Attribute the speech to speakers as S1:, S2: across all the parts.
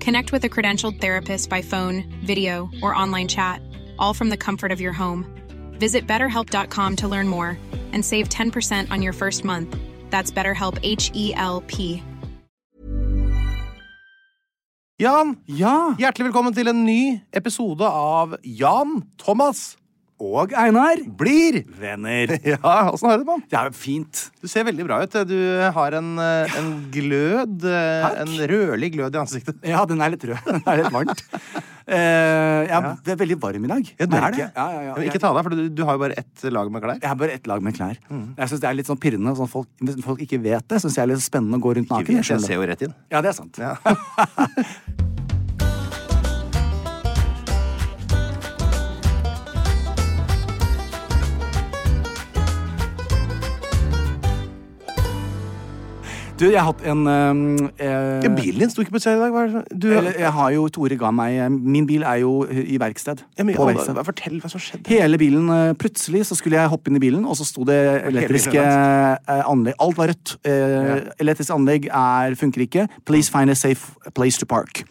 S1: Connect with a credentialed therapist by phone, video, or online chat, all from the comfort of your home. Visit betterhelp.com to learn more and save 10% on your first month. That's BetterHelp H E L P.
S2: Jan,
S3: Ja,
S2: hjertelig velkommen til en ny episode av Jan, Thomas
S3: og Einar.
S2: blir.
S3: Venner.
S2: Ja, åssen har du det, mann?
S3: Det er jo fint.
S2: Du ser veldig bra ut. Du har en, eh, en glød. eh,
S3: Takk.
S2: En rødlig glød i ansiktet.
S3: Ja, den er litt rød. Den er litt varmt. Eh, jeg er det er veldig varm i dag.
S2: Ja, du er
S3: Merker
S2: det.
S3: jeg. Ja, ja, ja.
S2: Men
S3: Jeg-
S2: Ikke ta deg, for du, du har jo bare ett lag med klær.
S3: Jeg har bare ett lag med klær.
S2: Mm.
S3: Jeg synes Det er litt sånn pirrende. Sånn folk, hvis folk ikke vet det, syns jeg er litt spennende å gå rundt naken.
S2: Jeg
S3: skjønner
S2: ser jo rett inn.
S3: det. Ja, det er sant. Du, jeg har hatt en um, eh,
S2: Ja, bilen din sto ikke på seg i dag. Hva er det som- du,
S3: Eller, jeg har jo Tore ga meg eh, Min bil er jo eh, i verksted.
S2: ja, men,
S3: på
S2: alle-
S3: verksted.
S2: hva- fortell hva som skjedde.
S3: Hele bilen eh, Plutselig så skulle jeg hoppe inn i bilen, og så sto det elektriske eh, anlegg Alt var rødt. Eh, Elektrisk anlegg er, funker ikke. Please find a safe place to park.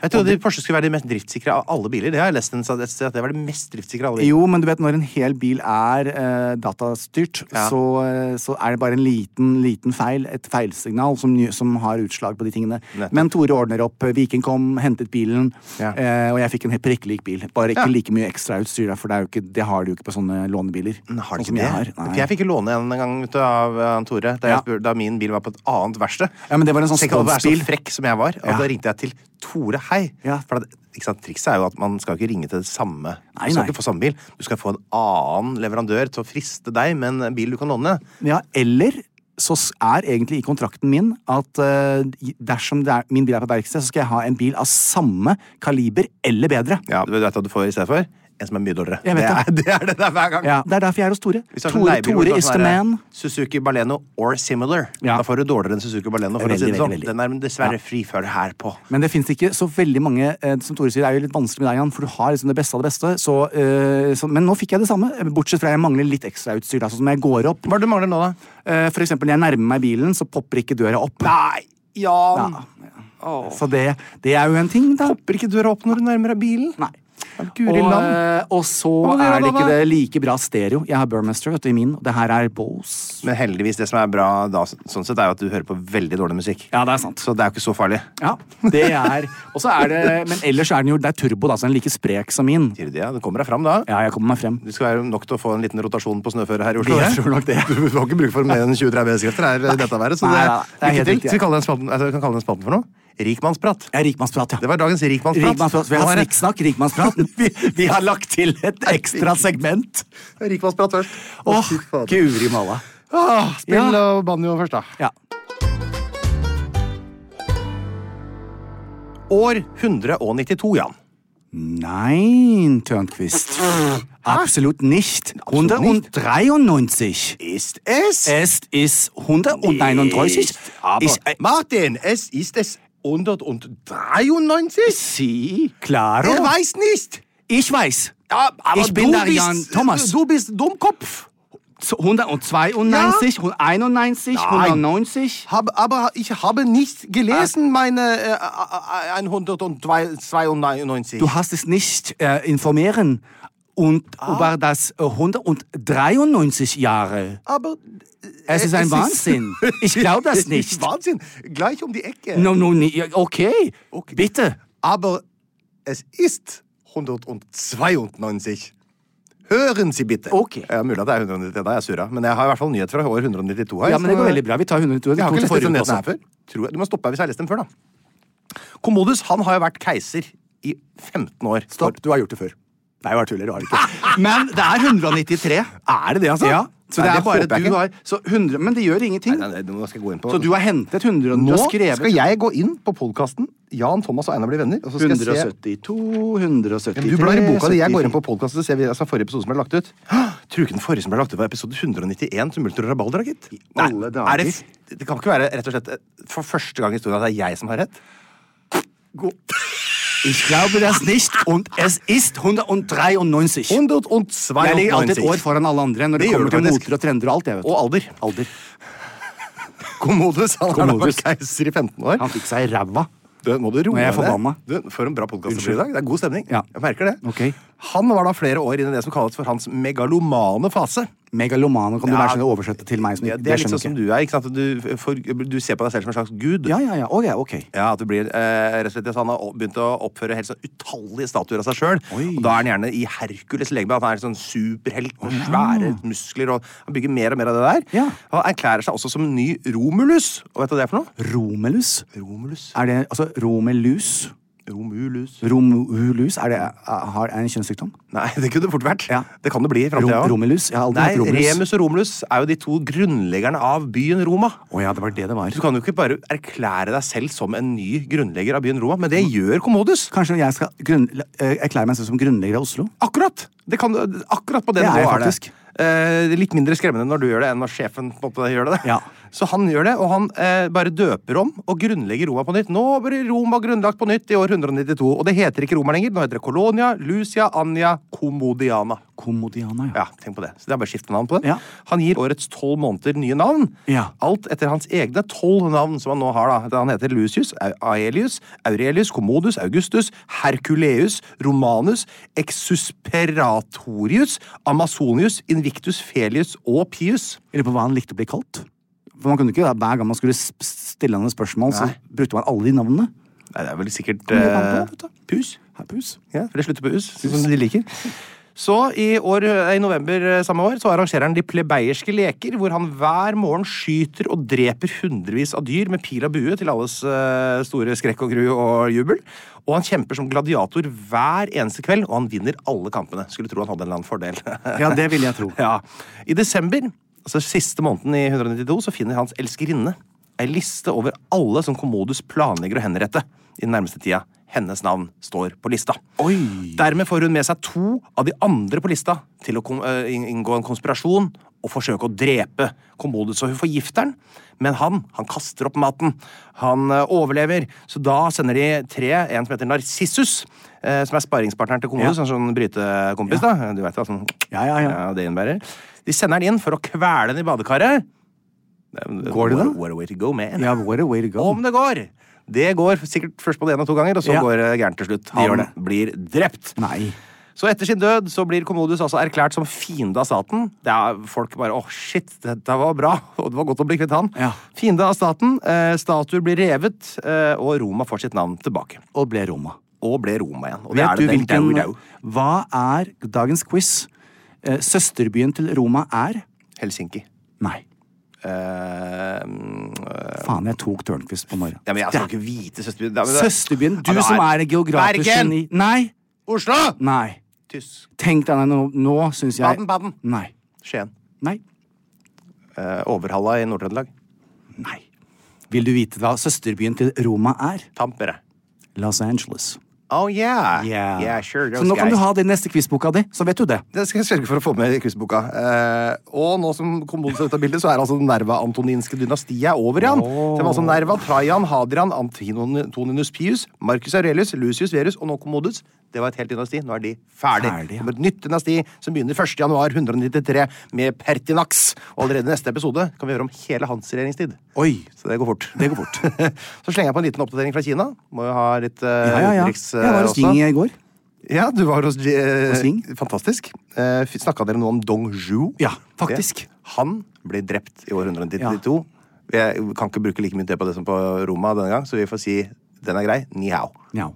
S2: Jeg trodde Porsche skulle være de mest driftssikre av alle biler. Det har jeg lest en sted, et sted at det var det mest driftssikre av alle biler.
S3: Jo, men du vet når en hel bil er eh, datastyrt,
S2: Ja.
S3: så, eh, så er det bare en liten, liten feil, et feilsignal, som, ny- som har utslag på de tingene.
S2: Nettopp.
S3: Men Tore ordner opp. Viken kom, hentet bilen,
S2: Ja.
S3: eh, og jeg fikk en helt prikkelik bil. Bare ikke
S2: Ja.
S3: like mye ekstrautstyr, da, for det, er jo ikke, det har du jo ikke på sånne lånebiler.
S2: Har de ikke
S3: sånn som
S2: det?
S3: jeg har.
S2: For
S3: Nei.
S2: jeg fikk jo låne en en gang ut av eh, han Tore da, jeg
S3: Ja.
S2: spur, da min bil var på et annet verksted.
S3: Ja, men det var en sånn
S2: Tenk å være så
S3: sponsbil.
S2: frekk som jeg var. Og
S3: Ja.
S2: Da ringte jeg til Tore Hei.
S3: Ja.
S2: For at, ikke sant, Trikset er jo at man skal ikke ringe til det samme.
S3: Nei,
S2: du skal
S3: nei.
S2: ikke få samme bil. Du skal få en annen leverandør til å friste deg med en bil du kan låne.
S3: Ja, eller så s- er egentlig i kontrakten min at eh, dersom det er, min bil er på verksted, så skal jeg ha en bil av samme kaliber eller bedre.
S2: Ja, du vet hva du får i stedet for? En som er mye dårligere.
S3: Jeg vet
S2: det, er, det er det der hver gang.
S3: Ja, Det er derfor jeg er hos Tore.
S2: Hvis du har sånn
S3: Tore,
S2: leiebil hvor det står
S3: Tore is
S2: sånn
S3: the
S2: her,
S3: man.
S2: Suzuki Baleno or similar.
S3: Ja.
S2: Da får du dårligere enn Suzuki Baleno. For å
S3: Veldig,
S2: si det sånn.
S3: veldig, veldig.
S2: Den er dessverre fri før det her på.
S3: Men det fins ikke så veldig mange eh, Som Tore sier, det er jo litt vanskelig med deg, Jan, for du har liksom det beste av det beste. Så, eh, så, men nå fikk jeg det samme, bortsett fra jeg mangler litt ekstrautstyr. da, Sånn som jeg går opp.
S2: Hva er det du mangler nå, da?
S3: Eh, for eksempel, når jeg nærmer meg bilen, så popper ikke døra opp.
S2: Nei, Jan!
S3: Så det, det er jo en ting, da.
S2: Popper ikke døra opp når du nærmer deg bilen?
S3: Nei.
S2: Guri
S3: Og,
S2: land.
S3: eh, og så
S2: Hva må du gjøre
S3: er det
S2: da,
S3: ikke
S2: da?
S3: det like bra stereo. Jeg har Burmester vet du, i min. og Det her er Bose.
S2: Men heldigvis, det som er bra da, sånn sett, er jo at du hører på veldig dårlig musikk.
S3: Ja, det er sant.
S2: Så det er jo ikke så farlig.
S3: Ja, det er, og så er det, Men ellers er den jo det er turbo, da, så den er like sprek som min.
S2: Sier du det? Ja, du kommer deg fram da.
S3: Ja, jeg kommer meg frem.
S2: Du skal være nok til å få en liten rotasjon på snøføret her i Oslo.
S3: Jeg
S2: ja.
S3: tror nok det.
S2: Du får ikke bruk for mer enn 20-30 hestekrefter her i dette været. Så det
S3: Nei,
S2: er,
S3: nei, nei, det er helt
S2: lykke til.
S3: riktig.
S2: Skal vi kalle den spalten, altså, kan vi kalle den spalten for noe? Rikmannsprat.
S3: Jeg er rikmannsprat, ja.
S2: Det var dagens rikmannsprat.
S3: Rikmannsprat. Vi
S2: Nå
S3: har
S2: er det-
S3: snikksnakk, rikmannsprat. Vi, vi har lagt til et ekstra segment.
S2: Rikmannsprat først.
S3: Å,
S2: fy fader.
S3: guri malla.
S2: Ah, spill
S3: Ja.
S2: og banjo først, da.
S3: Ja.
S2: År 192, Jan.
S3: Nein, Tørnquist. Absolutt nicht. 193.
S2: Ist es?
S3: Es ist 131. Ich, äh,
S2: Martin, es ist es 193?
S3: Sie, claro.
S2: weiß nicht.
S3: Ich weiß.
S2: Ja, aber
S3: Ich bin
S2: du
S3: der Jan
S2: bist,
S3: Thomas.
S2: Du bist Dummkopf.
S3: zu 192, 191, 190.
S2: Hab, aber ich habe nicht
S3: Ah.
S2: gelesen meine äh, äh, 192.
S3: Du hast es nicht äh, informieren und über das äh, 193 Jahre.
S2: aber äh,
S3: Es ist ein
S2: ist-
S3: Wahnsinn. Ich glaube das nicht.
S2: Wahnsinn. Gleich um die Ecke.
S3: No, no, nee, ja, okay.
S2: Okay.
S3: Bitte.
S2: Aber es ist 192. Høren Sie bitte.
S3: Ok.
S2: Ja, mulig at det er 192, da er jeg surra. Men jeg har i hvert fall nyhet fra år 192 her.
S3: Ja, men det
S2: så-
S3: går veldig bra. Vi tar 100
S2: Jeg har ikke lest denne nyheten her
S3: også.
S2: før. Tror jeg. Du må stoppe her hvis jeg har lest den før, da. Commodus han har jo vært keiser i 15 år.
S3: Stopp,
S2: Du har gjort det før. Nei, jeg bare tuller. Du har det ikke.
S3: Men det er 193.
S2: er det det, altså?
S3: Ja, så
S2: Nei,
S3: det er bare
S2: håper jeg
S3: du
S2: ikke.
S3: har så 100, Men det gjør ingenting.
S2: Nei, nei, nei, nå skal jeg gå inn på
S3: Så du har hentet 100 og du
S2: Nå
S3: har skrevet
S2: skal jeg gå inn på podkasten Jan, Thomas og Einar blir venner. Og så skal jeg se
S3: 172, 173
S2: Du blar i boka di, jeg går inn på podkasten og ser vi- altså, forrige episode som ble lagt ut. Tror du ikke den forrige som ble lagt ut, var episode 191 til Multor og Rabaldra, gitt? Nei,
S3: alle dager.
S2: Er det, f- det kan ikke være rett og slett eh, for første gang i historien at det er jeg som har rett?
S3: Ich glaube das nicht, und es ist 193. jeg ligger alltid et år
S2: 192.
S3: foran alle andre når det,
S2: Det gjør du
S3: kommer til
S2: faktisk.
S3: moter og trender og alt. Jeg vet.
S2: Og alder.
S3: alder.
S2: Commodus. Han har da vært
S3: Commodus.
S2: keiser i 15 år.
S3: Han fikk seg i ræva.
S2: Du, må du roe
S3: Nå er jeg
S2: deg ned.
S3: forbanna.
S2: Du, For en bra podkast det blir
S3: Unnskyld.
S2: i dag. Det er god stemning.
S3: Ja.
S2: Jeg merker det.
S3: Ok.
S2: Han var da flere år inn i det som kalles for hans megalomane fase.
S3: Megalomane kan du
S2: Ja.
S3: være sånn å oversette til meg. Som,
S2: Ja, det er litt
S3: skjønner
S2: sånn som
S3: jeg ikke.
S2: du er. ikke sant? Du, for, du ser på deg selv som en slags gud.
S3: Ja, ja, ja. Ok, ok.
S2: Ja, at du blir eh, rett og slett, Han har o- begynt å oppføre helt sånn utallige statuer av seg sjøl. Og da er han gjerne i Herkules legeme. At han er en sånn superhelt med svære muskler. og Han bygger mer og mer av det der.
S3: Ja.
S2: Og Han erklærer seg også som en ny Romulus. Og vet du hva det er for noe?
S3: Romelus?
S2: Romulus.
S3: Er det altså Romelus?
S2: Romulus.
S3: Romulus? Er det har, er det en kjønnssykdom?
S2: Nei, det kunne det fort vært.
S3: Ja.
S2: Det kan det bli i framtida
S3: Rom- Romulus? Jeg har aldri
S2: Nei,
S3: hatt Romulus.
S2: Remus og Romulus er jo de to grunnleggerne av byen Roma.
S3: Å ja, det var det det var.
S2: Du kan jo ikke bare erklære deg selv som en ny grunnlegger av byen Roma, men det gjør Commodus.
S3: Kanskje jeg skal grunn, eh, erklære meg selv som grunnlegger av Oslo?
S2: Akkurat! Det kan, du- akkurat på den
S3: Det er jeg
S2: nivået er det.
S3: faktisk.
S2: Eh, det er litt mindre skremmende når du gjør det, enn når sjefen på en måte gjør det.
S3: Ja.
S2: Så han gjør det, og han eh, bare døper om og grunnlegger Roma på nytt. Nå blir Roma grunnlagt på nytt i år 192, og det heter ikke Roma lenger. Nå heter det Colonia, Lucia, Anja, Commodiana.
S3: Kommodiana,
S2: Ja,
S3: ja.
S2: tenk på det. Så det er bare å skifte navn på det.
S3: Ja.
S2: Han gir årets tolv måneder nye navn.
S3: Ja.
S2: Alt etter hans egne tolv navn som han nå har. da. Han heter Lucius, Au- Aelius, Aurelius, Commodus, Augustus, Herculeus, Romanus, Exusperatorius, Amazonius, Invictus, Felius og Pius.
S3: Jeg lurer på hva han likte å bli kalt. For man kunne ikke, Hver gang man skulle s- stille han et spørsmål, så
S2: Nei.
S3: brukte man alle de navnene.
S2: Nei, det er vel sikkert
S3: Kommer det an på,
S2: eh,
S3: vet du.
S2: Pus.
S3: Herr Pus.
S2: Ja, for det slutter på us, som de liker. Så i, år, eh, I november eh, samme år så arrangerer han De plebeierske leker, hvor han hver morgen skyter og dreper hundrevis av dyr med pil og bue til alles eh, store skrekk og gru og jubel. Og han kjemper som gladiator hver eneste kveld, og han vinner alle kampene. Skulle tro han hadde en eller annen fordel.
S3: Ja, det ville jeg tro.
S2: Ja. I desember, altså siste måneden i 192, så finner hans elskerinne ei liste over alle som Commodus planlegger å henrette i den nærmeste tida. Hennes navn står på lista. Dermed får hun med seg to av de andre på lista til å kom, eh, inn- inngå en konspirasjon og forsøke å drepe Commodus. Så hun forgifter han, men han han kaster opp maten. Han eh, overlever. Så da sender de tre, en som heter Narcissus, eh, som er sparringspartneren til Commodus,
S3: Ja.
S2: en sånn brytekompis, da. Du vet, da, sånn
S3: Ja, ja, ja.
S2: ja, det innebærer. De sender den inn for å kvele den i badekaret.
S3: Går det da?
S2: What, what a way to go, man.
S3: Ja, what a way to go.
S2: Om det går! Det går sikkert først på det ene og to ganger, og så
S3: Ja.
S2: går det gærent til slutt.
S3: gjør
S2: Han
S3: det.
S2: blir drept.
S3: Nei.
S2: Så etter sin død så blir Commodus altså erklært som fiende av staten. Det er folk bare 'Å, shit, dette var bra', og det var godt å bli kvitt han.
S3: Ja.
S2: Fiende av staten, eh, statuer blir revet, eh, og Roma får sitt navn tilbake.
S3: Og ble Roma.
S2: Og ble Roma igjen. Og det er
S3: Vet du
S2: det den dag i dag.
S3: hvilken Hva er dagens quiz? Eh, Søsterbyen til Roma er
S2: Helsinki.
S3: Nei.
S2: Eh, mm,
S3: Faen, jeg tok Tørnquist på morgenen.
S2: Ja, men altså, jeg skal jo ikke vite søsterbyen. Da- men det-
S3: Søsterbyen, du
S2: Ja, det
S3: som er en geografisk
S2: Bergen!
S3: geni Nei!
S2: Oslo!
S3: Nei.
S2: Tysk.
S3: Tenk deg, nei, nå, nå syns jeg
S2: Baden-Baden.
S3: Nei.
S2: Skien.
S3: Nei.
S2: Eh, Overhalla i Nord-Trøndelag.
S3: Nei. Vil du vite hva søsterbyen til Roma er?
S2: Tampere.
S3: Los Angeles.
S2: Oh yeah.
S3: Yeah.
S2: sure,
S3: så nå kan du ha det i neste quizboka di, så vet du det.
S2: Det skal jeg sørge for å få med i quizboka. Eh, og nå som Kommodus er ute av bildet, så er altså det nerva-antoninske dynastiet er over igjen. Det var altså Nerva, Trajan, Hadrian, Antoninus Pius, Marcus Aurelius, Lucius Verus og nå Kommodus. Det var et helt dynasti. Nå er de ferdig.
S3: Ferdig,
S2: Det
S3: ja.
S2: kommer Et nytt dynasti som begynner 1. januar 193 med Pertinax. Og allerede i neste episode kan vi høre om hele hans regjeringstid.
S3: Oi.
S2: Så det går fort.
S3: Det går fort.
S2: Så slenger jeg på en liten oppdatering fra Kina. Må jo ha litt uh,
S3: Ja, ja, ja.
S2: utenriks eh,
S3: Jeg var hos
S2: også.
S3: Ying i går.
S2: Ja, du var hos, eh,
S3: Hos Ying.
S2: Fantastisk. Uh, Snakka dere noe om Dong Zhu?
S3: Ja, faktisk.
S2: Det- Han ble drept i år 192. Jeg kan ikke bruke like mye tid på det som på Roma denne gang, så vi får si den er grei. Ni hao.
S3: Njau.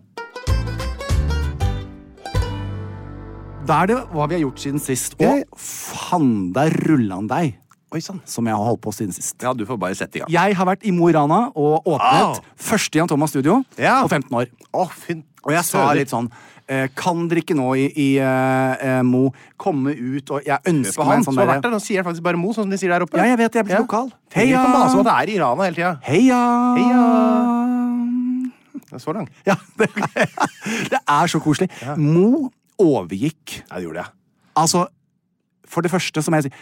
S3: Da er det hva vi har gjort siden sist. Og
S2: Jeg-
S3: fanda rullan deg,
S2: Oi sånn. sann.
S3: som jeg har holdt på siden sist.
S2: Ja, du får bare sette i gang.
S3: Jeg har vært i Mo i Rana og åpnet
S2: Au!
S3: første Jan Thomas Studio
S2: Ja.
S3: på 15 år.
S2: Å, fyn
S3: Og jeg sa litt sånn eh, Kan dere ikke nå i, i eh, eh, Mo komme ut og Jeg ønsker
S2: på
S3: meg
S2: han
S3: en sånn
S2: som har vært
S3: derre
S2: der. Han sier faktisk bare Mo, sånn som de sier der oppe.
S3: Ja, jeg vet, jeg er blitt lokal.
S2: Heia!
S3: Heia!
S2: Kan mase om at det er i Rana hele tida.
S3: Heia!
S2: Heia! Det er så lang.
S3: Ja, det, det er så koselig. Mo overgikk
S2: Ja, det gjorde jeg.
S3: Altså, for det første, så må jeg si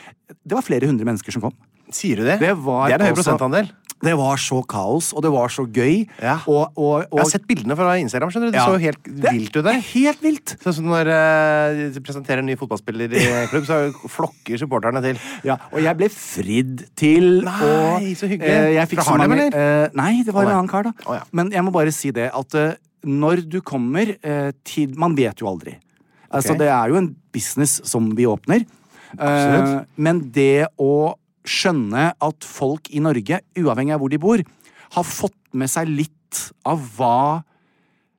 S3: Det var flere hundre mennesker som kom.
S2: Sier du det?
S3: Det var
S2: det er en høy
S3: også-
S2: prosentandel.
S3: Det var så kaos, og det var så gøy.
S2: Ja.
S3: Og, og,
S2: Jeg
S3: og
S2: har sett bildene fra Instagram. skjønner du? Det
S3: Ja.
S2: så jo helt
S3: Det er
S2: vilt ut der.
S3: Helt vilt!
S2: Sånn som når eh, de presenterer en ny fotballspiller i en klubb, så flokker supporterne til.
S3: Ja, og jeg ble fridd til.
S2: Nei,
S3: og,
S2: så hyggelig.
S3: eh, jeg fikk
S2: Fra
S3: så
S2: Harlem,
S3: mange-
S2: eller?
S3: eh, nei, det var
S2: Å, nei.
S3: en annen kar, da.
S2: Å, ja.
S3: Men jeg må bare si det at eh, når du kommer eh, til Man vet jo aldri. Altså,
S2: Ok.
S3: det er jo en business som vi åpner. Eh,
S2: Absolutt.
S3: men det å skjønne at folk i Norge, uavhengig av hvor de bor, har fått med seg litt av hva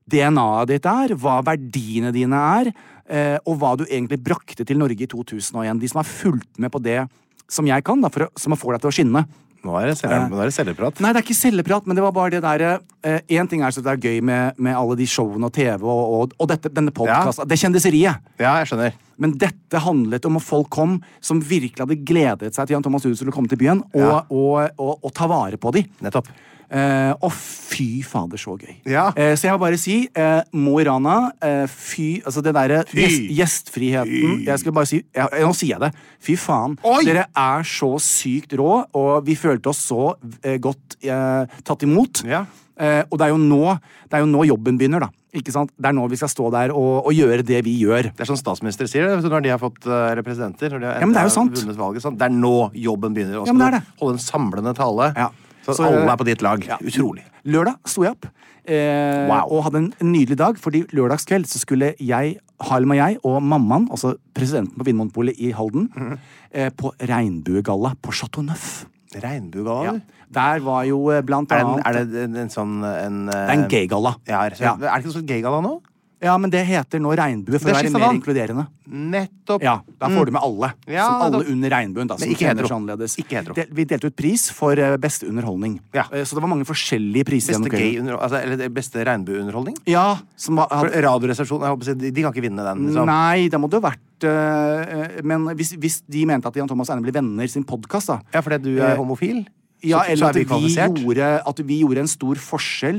S3: DNA-et ditt er, hva verdiene dine er, eh, og hva du egentlig brakte til Norge i 2001. De som har fulgt med på det som jeg kan, da, for, å- som får deg til å skinne.
S2: Nå er det, selger, nå er det selgerprat.
S3: Nei, det er ikke celleprat, men det var bare det derre Én ting er så det er gøy med, med alle de showene og TV og, og, og dette, denne podkasten. Det kjendiseriet.
S2: Ja, jeg skjønner.
S3: Men dette handlet om at folk kom som virkelig hadde gledet seg til Jan Thomas Hus skulle komme til byen, og,
S2: Ja.
S3: og, og, og ta vare på dem.
S2: Nettopp.
S3: Eh, og fy fader, så gøy.
S2: Ja.
S3: Eh, så jeg vil bare si eh, Mo i Rana, eh, fy Altså det derre gjest, gjestfriheten Jeg skal bare si ja, eh, Nå sier jeg det. Fy faen.
S2: Oi!
S3: Dere er så sykt rå, og vi følte oss så eh, godt eh, tatt imot.
S2: Ja.
S3: Eh, og det er, jo nå, det er jo nå jobben begynner, da. Ikke sant? Det er nå vi skal stå der og, og gjøre det vi gjør.
S2: Det er sånn statsministre sier det, vet du, når de har fått eh, eller presidenter. Når de har
S3: Ja, men det er jo
S2: endelig
S3: sant.
S2: vunnet Valget, sant? Det er nå jobben begynner. Og
S3: Ja, men det er
S2: skal du Holde en samlende tale.
S3: Ja.
S2: Så,
S3: Så,
S2: alle
S3: eh,
S2: er på ditt lag.
S3: ja.
S2: Utrolig.
S3: Lørdag sto jeg opp eh,
S2: Wow.
S3: og hadde en nydelig dag, fordi lørdagskveld så skulle jeg, Harlem og jeg, og mammaen, altså presidenten på Vinmonopolet i Halden,
S2: Mhm.
S3: eh, på regnbuegalla på Chateau Neuf.
S2: Regnbuegalla, du.
S3: Der var jo eh, blant
S2: Er, det en-
S3: annet
S2: er det en, en sånn en, eh,
S3: det er en gaygalla.
S2: Ja, er,
S3: ja.
S2: er det ikke sånn gaygalla nå?
S3: ja, men det heter nå regnbue for
S2: Det
S3: å
S2: er
S3: være
S2: skissa
S3: mer
S2: navn.
S3: inkluderende.
S2: Nettopp.
S3: Ja, Der får du med alle.
S2: Ja,
S3: som alle
S2: da-
S3: under regnbuen. da, som
S2: Men ikke
S3: kjenner
S2: hetero.
S3: seg annerledes.
S2: Ikke hetero.
S3: Del- vi delte ut pris for eh, beste underholdning.
S2: Ja.
S3: Eh, Så det var mange forskjellige
S2: Beste
S3: priser. gjennom kvelden.
S2: gay under, altså, eller beste regnbueunderholdning?
S3: Ja, som var,
S2: For
S3: hadde,
S2: Radioresepsjonen jeg håper, å si, de, de kan ikke vinne den. Liksom.
S3: Nei, da må det jo vært øh, øh, Men hvis, hvis de mente at Jan Thomas og Erne ble venner sin podkast, da
S2: Ja, fordi du er homofil?
S3: Eh, Ja,
S2: så,
S3: eller
S2: så
S3: at
S2: er
S3: vi,
S2: vi kvalifisert?
S3: gjorde, at vi gjorde en stor forskjell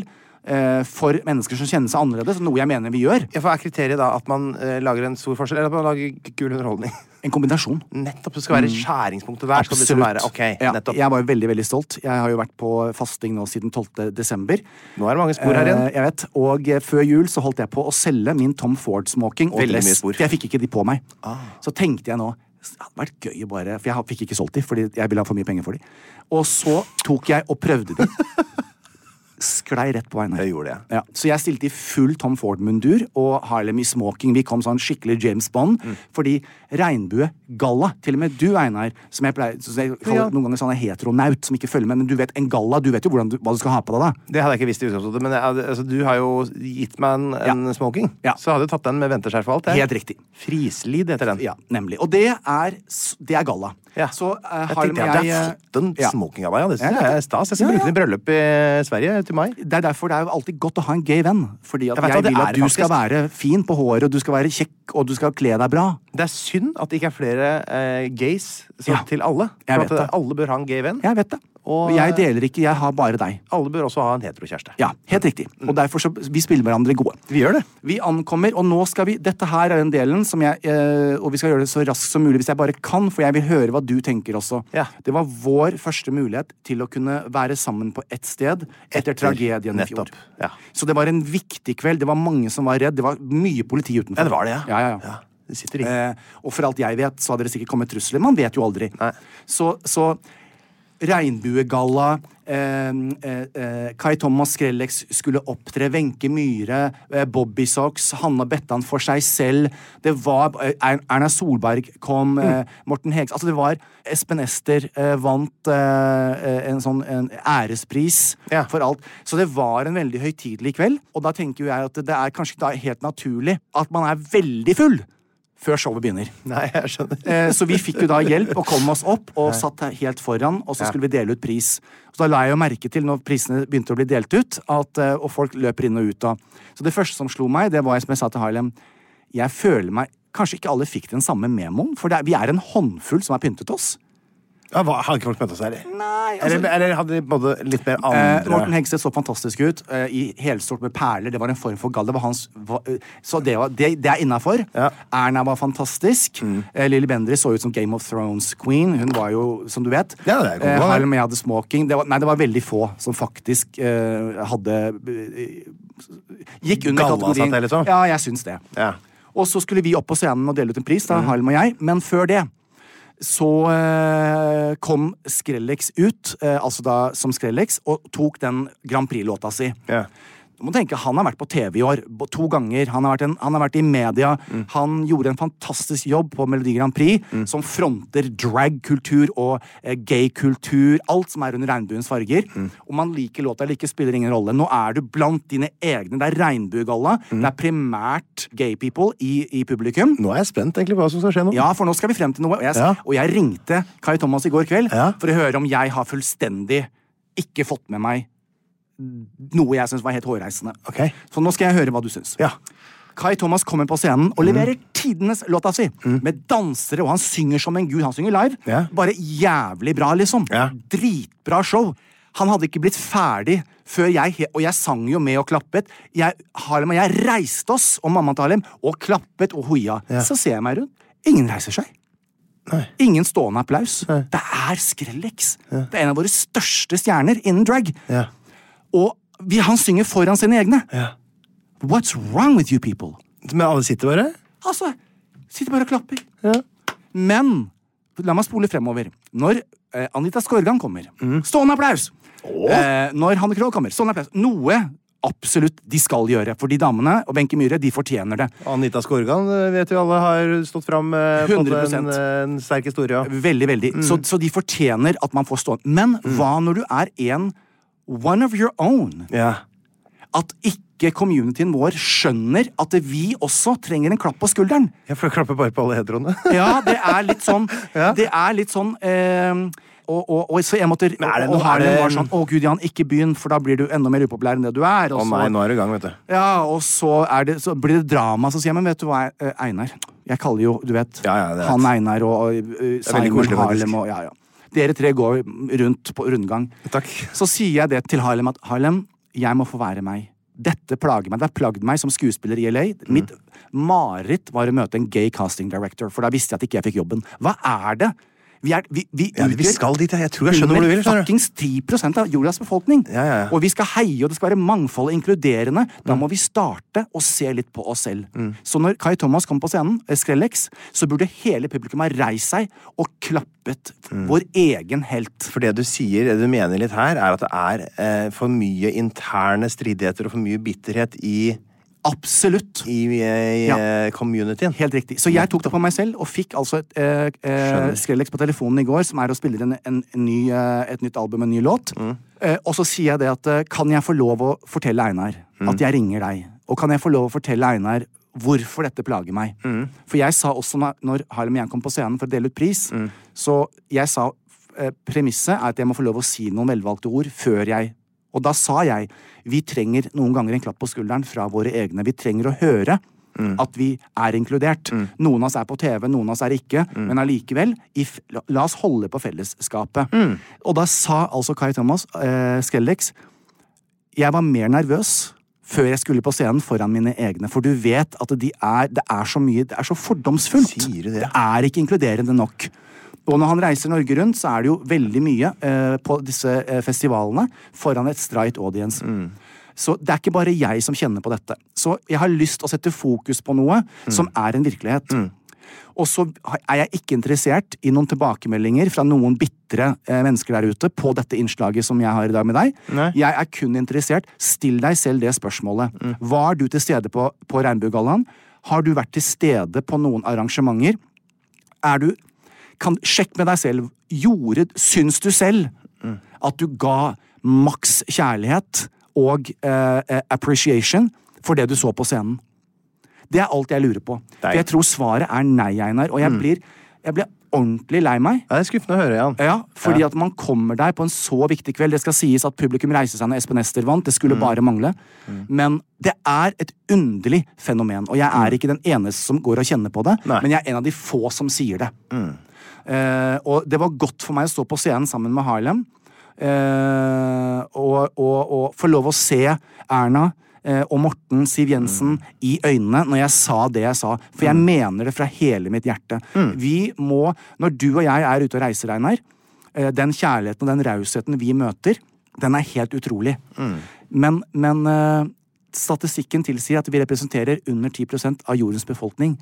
S3: øh, for mennesker som kjenner seg annerledes, noe jeg mener vi gjør.
S2: Ja, for Er kriteriet da at man eh, lager en stor forskjell, eller at man lager k- kul underholdning?
S3: En kombinasjon.
S2: Nettopp! Det skal være skjæringspunktet der. Skal det liksom være, ok,
S3: Mm. Ja,
S2: nettopp.
S3: jeg var jo veldig veldig stolt. Jeg har jo vært på fasting nå siden 12. desember.
S2: Nå er det mange spor her igjen.
S3: Eh, Jeg vet, og eh, Før jul så holdt jeg på å selge min Tom Ford-smoking. og
S2: Veldig mye
S3: dress.
S2: spor. Ah.
S3: Jeg fikk ikke de på meg. Så tenkte jeg nå det hadde vært gøy å bare, For jeg har- fikk ikke solgt de, fordi jeg ville ha for mye penger for de. Og så tok jeg og prøvde de. Sklei rett på veien. her.
S2: Det gjorde jeg.
S3: Ja, så jeg stilte i full Tom Ford-mundur og Harlem i smoking. Vi kom sånn skikkelig James Bond.
S2: Mm.
S3: Fordi regnbuegalla, til og med du, Einar, som jeg pleier som jeg kaller,
S2: Ja.
S3: noen ganger sånn en heteronaut som ikke følger med, men du vet en galla, du vet jo hvordan du, hva du skal ha på deg da.
S2: Det hadde jeg ikke visst i utgangspunktet, men jeg, altså, du har jo gitt meg en, en smoking.
S3: Ja.
S2: Så jeg hadde jo tatt den med venteskjerf og alt. jeg.
S3: Helt riktig.
S2: Frislid heter den.
S3: Ja, nemlig. Og det er, s- det er galla.
S2: Ja.
S3: Så eh,
S2: jeg
S3: Harlem
S2: tenkte
S3: og
S2: at jeg,
S3: jeg
S2: har
S3: eh,
S2: fått en
S3: ja.
S2: smoking av deg. Ja. Det
S3: Ja,
S2: synes jeg er stas. Jeg skal
S3: ja,
S2: bruke den i bryllup i eh, Sverige til mai.
S3: Det er derfor det er jo alltid godt å ha en gay venn. Fordi at
S2: Jeg vet hva
S3: jeg,
S2: det
S3: vil
S2: er,
S3: at du skal
S2: faktisk.
S3: være fin på håret, og du skal være kjekk, og du skal kle deg bra.
S2: Det er synd at det ikke er flere eh, gays så,
S3: Ja.
S2: til alle.
S3: Jeg
S2: For
S3: vet
S2: at, eh,
S3: det.
S2: Alle bør ha en gay venn.
S3: Jeg vet det.
S2: Og
S3: Jeg deler ikke, jeg har bare deg.
S2: alle bør også ha en heterokjæreste.
S3: Ja, helt riktig. Og derfor så, vi spiller hverandre gode.
S2: Mm. Vi gjør det.
S3: Vi ankommer, og nå skal vi Dette her er den delen som jeg eh, Og vi skal gjøre det så raskt som mulig hvis jeg bare kan, for jeg vil høre hva du tenker også.
S2: Ja.
S3: Det var vår første mulighet til å kunne være sammen på ett sted etter, tragedien i fjor.
S2: nettopp, ja.
S3: Så det var en viktig kveld. Det var mange som var redd. Det var mye politi utenfor.
S2: Ja, det var det, ja.
S3: ja, ja, ja.
S2: Ja, det sitter i.
S3: Eh, og for alt jeg vet, så hadde det sikkert kommet trusler. Man vet jo aldri. Så, så Regnbuegalla, eh, eh, eh, Kai Thomas Skrellex skulle opptre, Wenche Myhre, eh, Bobbysocks, Hanna Bettan for seg selv, det var eh, Er- Erna Solberg kom, eh, Morten Hegs Altså, det var Espen Ester eh, vant eh, eh, en sånn en ærespris
S2: Ja.
S3: for alt. Så det var en veldig høytidelig kveld, og da tenker jo jeg at det er kanskje da helt naturlig at man er veldig full før showet begynner.
S2: Nei, jeg skjønner.
S3: Eh, Så vi fikk jo da hjelp og kom oss opp og satt her helt foran, og så skulle vi dele ut pris. Så da la jeg jo merke til, når prisene begynte å bli delt ut, at, eh, og folk løper inn og ut da. Så det første som slo meg, det var som jeg sa til Harlem, jeg føler meg Kanskje ikke alle fikk den samme memoen, for det er, vi er en håndfull som har pyntet oss.
S2: Ja, hva, hadde ikke folk møtt oss her?
S3: Nei, altså-
S2: eller, eller hadde de på en måte litt mer
S3: Eh,
S2: andre
S3: Morten Hegseth så fantastisk ut eh, i helstort med perler. Det var en form for gall. Det var hans, va- eh, så det, var, det, det er innafor.
S2: Ja. Mm.
S3: Erna var fantastisk. Eh, Lilly Bendriss så ut som Game of Thrones-queen. Hun var jo, som du vet
S2: Ja, det er godt
S3: eh,
S2: valg.
S3: Harlem jeg hadde smoking. Det var, nei, det var veldig få som faktisk eh, hadde eh, Gikk under
S2: Galla seg
S3: kategorien.
S2: til, liksom?
S3: Ja, jeg syns det.
S2: Ja.
S3: Og så skulle vi opp på scenen og dele ut en pris, da, Harlem og jeg. Men før det så eh, kom Skrellex ut, eh, altså da som Skrellex, og tok den Grand Prix-låta si.
S2: Ja.
S3: Du må tenke, Han har vært på TV i år bo- to ganger. Han har vært, en, han har vært i media. Han gjorde en fantastisk jobb på Melodi Grand Prix, som fronter drag-kultur og eh, gay-kultur. Alt som er under regnbuens farger. Om man liker låta eller ikke, spiller ingen rolle. Nå er du blant dine egne. Det er regnbuegalla. Det er primært gay people i, i publikum.
S2: Nå er jeg spent egentlig på hva som skal skje nå.
S3: Ja, for nå skal vi frem til noe. Og jeg,
S2: Ja.
S3: og jeg ringte Kai Thomas i går kveld
S2: Ja.
S3: for å høre om jeg har fullstendig ikke fått med meg noe jeg syns var helt hårreisende.
S2: Ok.
S3: Så nå skal jeg høre hva du syns.
S2: Ja.
S3: Kai Thomas kommer på scenen
S2: Mm.
S3: og leverer tidenes låta si. Med dansere, og han synger som en gud. Han synger live.
S2: Ja.
S3: Bare jævlig bra, liksom.
S2: Ja.
S3: Dritbra show. Han hadde ikke blitt ferdig før jeg he- Og jeg sang jo med og klappet. Jeg, Harlem og jeg reiste oss og mammaen til Harlem og klappet og hoia. Så ser jeg meg rundt. Ingen reiser seg. Ingen stående applaus. Det er Skrellex. Det er en av våre største stjerner innen drag.
S2: Ja.
S3: Og vi, han synger foran sine egne. What's wrong with you people?
S2: Men alle sitter bare?
S3: Altså, sitter bare og klapper. Men la meg spole fremover. Når eh, Anita Skorgan kommer, stående applaus! Eh, når Hanne Krogh kommer, stående applaus. Noe absolutt de skal gjøre. For de damene og Wenche Myhre, de fortjener det.
S2: Anita Skorgan eh, vet jo alle har stått fram eh, på
S3: 100%.
S2: en, eh, en sterk historie. ja.
S3: Veldig, veldig. Så, så de fortjener at man får stående. Men hva når du er en one of your own?
S2: Ja.
S3: At ikke communityen vår skjønner at vi også trenger en klapp på skulderen.
S2: Jeg får klappe bare på alle heteroene.
S3: Ja, det er litt sånn. Det er litt sånn eh, og, og, og så jeg måtte
S2: Men er det
S3: og
S2: noe- er
S3: Erlend
S2: det-
S3: var sånn Å, gud, Jan, ikke begynn, for da blir du enda mer upopulær enn det du er. Og
S2: Å
S3: så,
S2: nei, nå er du i gang, vet du.
S3: ja, og så, er det, så blir det drama. Så sier jeg, men vet du hva, eh, Einar Jeg kaller jo, du vet,
S2: Ja, ja, det vet.
S3: han Einar og, og eh, Simon
S2: koselig, faktisk.
S3: Harlem og ja, ja. Dere tre går rundt på rundgang.
S2: Takk.
S3: Så sier jeg det til Harlem at Harlem, jeg må få være meg. Dette plager meg. Det har plagd meg som skuespiller i LA.
S2: Mm.
S3: Mitt mareritt var å møte en gay casting director, for da visste jeg at ikke jeg fikk jobben. Hva er det? Vi, er, vi, vi
S2: Ja, vi
S3: utgjør
S2: skal dit, jeg. Jeg tror jeg skjønner hvor
S3: under
S2: du vil, skjønner du.
S3: Fuckings 10 av jordas befolkning.
S2: Ja, ja, Mm. ja.
S3: Og vi skal heie, og det skal være mangfold og inkluderende. Da må vi starte og se litt på oss selv.
S2: Mm.
S3: Så når Kai Thomas kom på scenen, eh, Skrellex, så burde hele publikum ha reist seg og klappet
S2: Mm.
S3: vår egen helt.
S2: For det du sier, det du mener litt her, er at det er eh, for mye interne stridigheter og for mye bitterhet i,
S3: Absolutt.
S2: i, eh, i
S3: Ja.
S2: eh, communityen.
S3: Helt riktig. Så jeg tok det på meg selv, og fikk altså et eh, eh,
S2: Skjønner.
S3: Skrellex på telefonen i går, som er å spille inn en, en ny, eh, et nytt album, en ny låt. Eh, og så sier jeg det at eh, kan jeg få lov å fortelle Einar at jeg ringer deg? Og kan jeg få lov å fortelle Einar hvorfor dette plager meg? For jeg sa også når, når Harlem og jeg kom på scenen for å dele ut pris, så jeg sa eh, premisset er at jeg må få lov å si noen velvalgte ord før jeg og da sa jeg vi trenger noen ganger en klapp på skulderen fra våre egne. Vi trenger å høre At vi er inkludert. Noen av oss er på TV, noen av oss er ikke, men allikevel if- la- La oss holde på fellesskapet. Og da sa altså Kai Thomas eh, Skellex Jeg var mer nervøs før jeg skulle på scenen foran mine egne, for du vet at de er, det er så mye Det er så fordomsfullt.
S2: Sier du det?
S3: det er ikke inkluderende nok. Og når han reiser Norge rundt, så er det jo veldig mye eh, på disse eh, festivalene foran et straight audience.
S2: Mm.
S3: Så det er ikke bare jeg som kjenner på dette. Så jeg har lyst å sette fokus på noe
S2: Mm.
S3: som er en virkelighet. Og så har- er jeg ikke interessert i noen tilbakemeldinger fra noen bitre eh, mennesker der ute på dette innslaget som jeg har i dag med deg. Jeg er kun interessert Still deg selv det spørsmålet. Var du til stede på, på Regnbuegallaen? Har du vært til stede på noen arrangementer? Er du kan, Sjekk med deg selv. Gjorde Syns du selv at du ga maks kjærlighet og eh, eh, appreciation for det du så på scenen? Det er alt jeg lurer på. For jeg tror svaret er nei, Einar. Og jeg, blir, jeg blir ordentlig lei meg.
S2: Ja, det er skuffende å høre, Jan.
S3: Ja, fordi at man kommer der på en så viktig kveld. Det skal sies at publikum reiste seg når Espen Ester vant. Det skulle bare mangle. Men det er et underlig fenomen. Og jeg er ikke den eneste som går og kjenner på det,
S2: Nei.
S3: men jeg er en av de få som sier det. Eh, og det var godt for meg å stå på scenen sammen med Harlem eh, og, og, og få lov å se Erna eh, og Morten Siv Jensen i øynene når jeg sa det jeg sa. For jeg mener det fra hele mitt hjerte. Vi må, når du og jeg er ute og reiser, Einar, eh, den kjærligheten og den rausheten vi møter, den er helt utrolig. Men, men eh, Statistikken tilsier at vi representerer under 10 av jordens befolkning.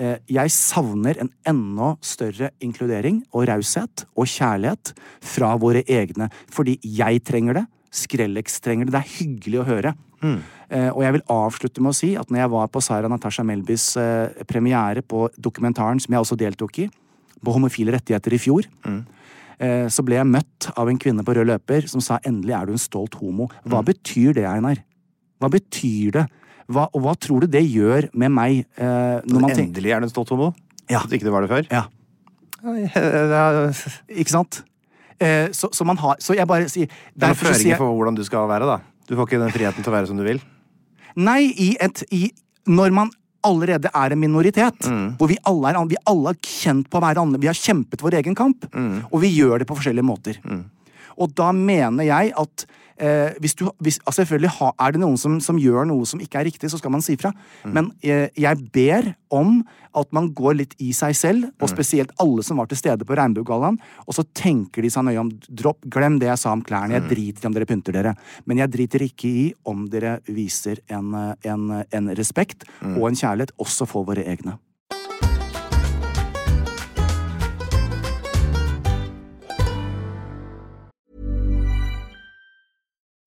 S3: Eh, Jeg savner en enda større inkludering og raushet og kjærlighet fra våre egne. Fordi jeg trenger det. Skrellex trenger det. Det er hyggelig å høre. Eh, Og jeg vil avslutte med å si at når jeg var på Sara Natasha Melbys eh, premiere på dokumentaren som jeg også deltok i, på homofile rettigheter i fjor, eh, så ble jeg møtt av en kvinne på rød løper som sa 'endelig er du en stolt homo'. Hva
S2: Mm.
S3: betyr det, Einar? Hva betyr det? Hva, og hva tror du det gjør med meg eh, når man tenker
S2: Endelig er det en stolt homo.
S3: Ja.
S2: At ikke det var det før.
S3: ja,
S2: Ja, Det er
S3: Ikke sant? Eh, så, så man har Så jeg bare sier
S2: det er noen
S3: derfor så sier jeg-
S2: føringer for hvordan du skal være, da. Du får ikke den friheten til å være som du vil.
S3: Nei, i et i, Når man allerede er en minoritet,
S2: Mm.
S3: hvor vi alle er, an- vi alle har kjent på hverandre, vi har kjempet vår egen kamp,
S2: Mm.
S3: og vi gjør det på forskjellige måter. Og da mener jeg at eh, hvis du, hvis, altså selvfølgelig ha, Er det noen som, som gjør noe som ikke er riktig, så skal man si fra. Men eh, jeg ber om at man går litt i seg selv, og spesielt alle som var til stede på Regnbuegallaen, og så tenker de seg nøye om dropp, Glem det jeg sa om klærne. Jeg driter i om dere pynter dere. Men jeg driter ikke i om dere viser en, eh, en, eh, en respekt og en kjærlighet også for våre egne.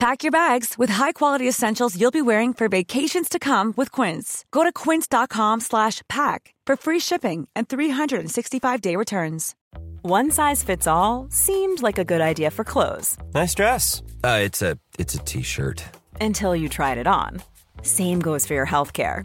S4: Pack your bags with high-quality essentials you'll be wearing for vacations to come with Quince. Go to quince.com/pack for free shipping and 365-day returns. One size fits all seemed like a good idea for clothes
S5: Nice dress. Uh, it's a it's a t-shirt.
S4: until you tried it on. Same goes for your healthcare.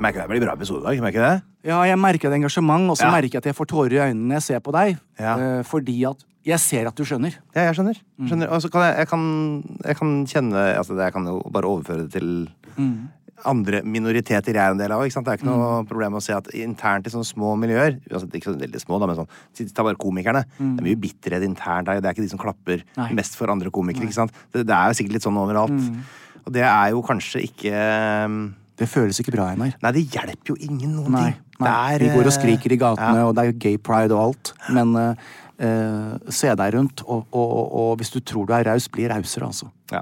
S2: Merker det blir bra episode i dag. merker jeg det?
S3: Ja, jeg merker et engasjement, og så
S2: Ja.
S3: merker jeg at jeg får tårer i øynene når jeg ser på deg.
S2: Ja.
S3: Eh, fordi at Jeg ser at du skjønner.
S2: Ja, jeg skjønner.
S3: Mm.
S2: skjønner. Og så kan jeg, jeg, kan, jeg kan kjenne altså det, Jeg kan jo bare overføre det til
S3: Mm.
S2: andre minoriteter jeg er en del av. Ikke sant? Det er ikke noe problem å se at internt i sånne små miljøer altså Ikke så veldig små, da, men sånn si- Ta bare komikerne. Det er mye bitterhet internt der. Det er ikke de som klapper
S3: Mm. Nei. Mm.
S2: mest for andre komikere. Ikke sant? Det, det er jo sikkert litt sånn overalt. Og det er jo kanskje ikke Nei,
S3: Det føles ikke bra, Einar.
S2: det hjelper jo ingen noen
S3: Nei.
S2: ting.
S3: nei.
S2: Det
S3: Vi
S2: er,
S3: går og
S2: eh,
S3: skriker i gatene, og det er jo gay pride og alt. Men eh, eh, se deg rundt, og, og, og, og hvis du tror du er raus, bli rausere, altså.
S2: Ja.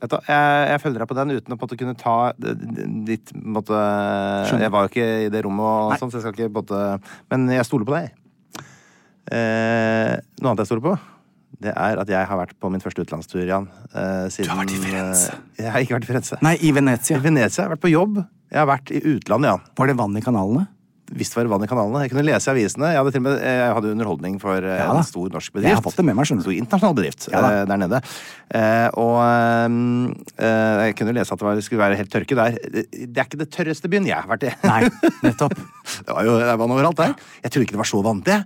S2: Vet du, hva, jeg, jeg følger deg på den uten å på en måte kunne ta d- d- ditt på en måte, Jeg var jo ikke i det rommet, og sånn, så jeg skal ikke på en måte, men jeg stoler på deg. Eh, noe annet jeg stoler på, det er at jeg har vært på min første utenlandstur, Jan. Eh, siden,
S3: har vært i Firenze.
S2: eh, Jeg har ikke vært i Firenze.
S3: Nei, i Venezia.
S2: I Venezia. Jeg har vært på jobb. Jeg har vært i utlandet, Jan.
S3: Var det vann i kanalene?
S2: Visst var det vann i kanalene. Jeg kunne lese i avisene. Jeg hadde til og med eh, jeg hadde underholdning for eh,
S3: da.
S2: en stor norsk bedrift.
S3: Jeg har fått det med meg, skjønner du.
S2: Stor internasjonal bedrift
S3: Ja da.
S2: eh, der nede. Eh, og eh, eh, jeg kunne lese at det var, skulle være helt tørke der. Det, det er ikke det tørreste byen jeg har vært i.
S3: Nei, nettopp.
S2: det var jo det er vann overalt der. Jeg trodde ikke det var så vanlig.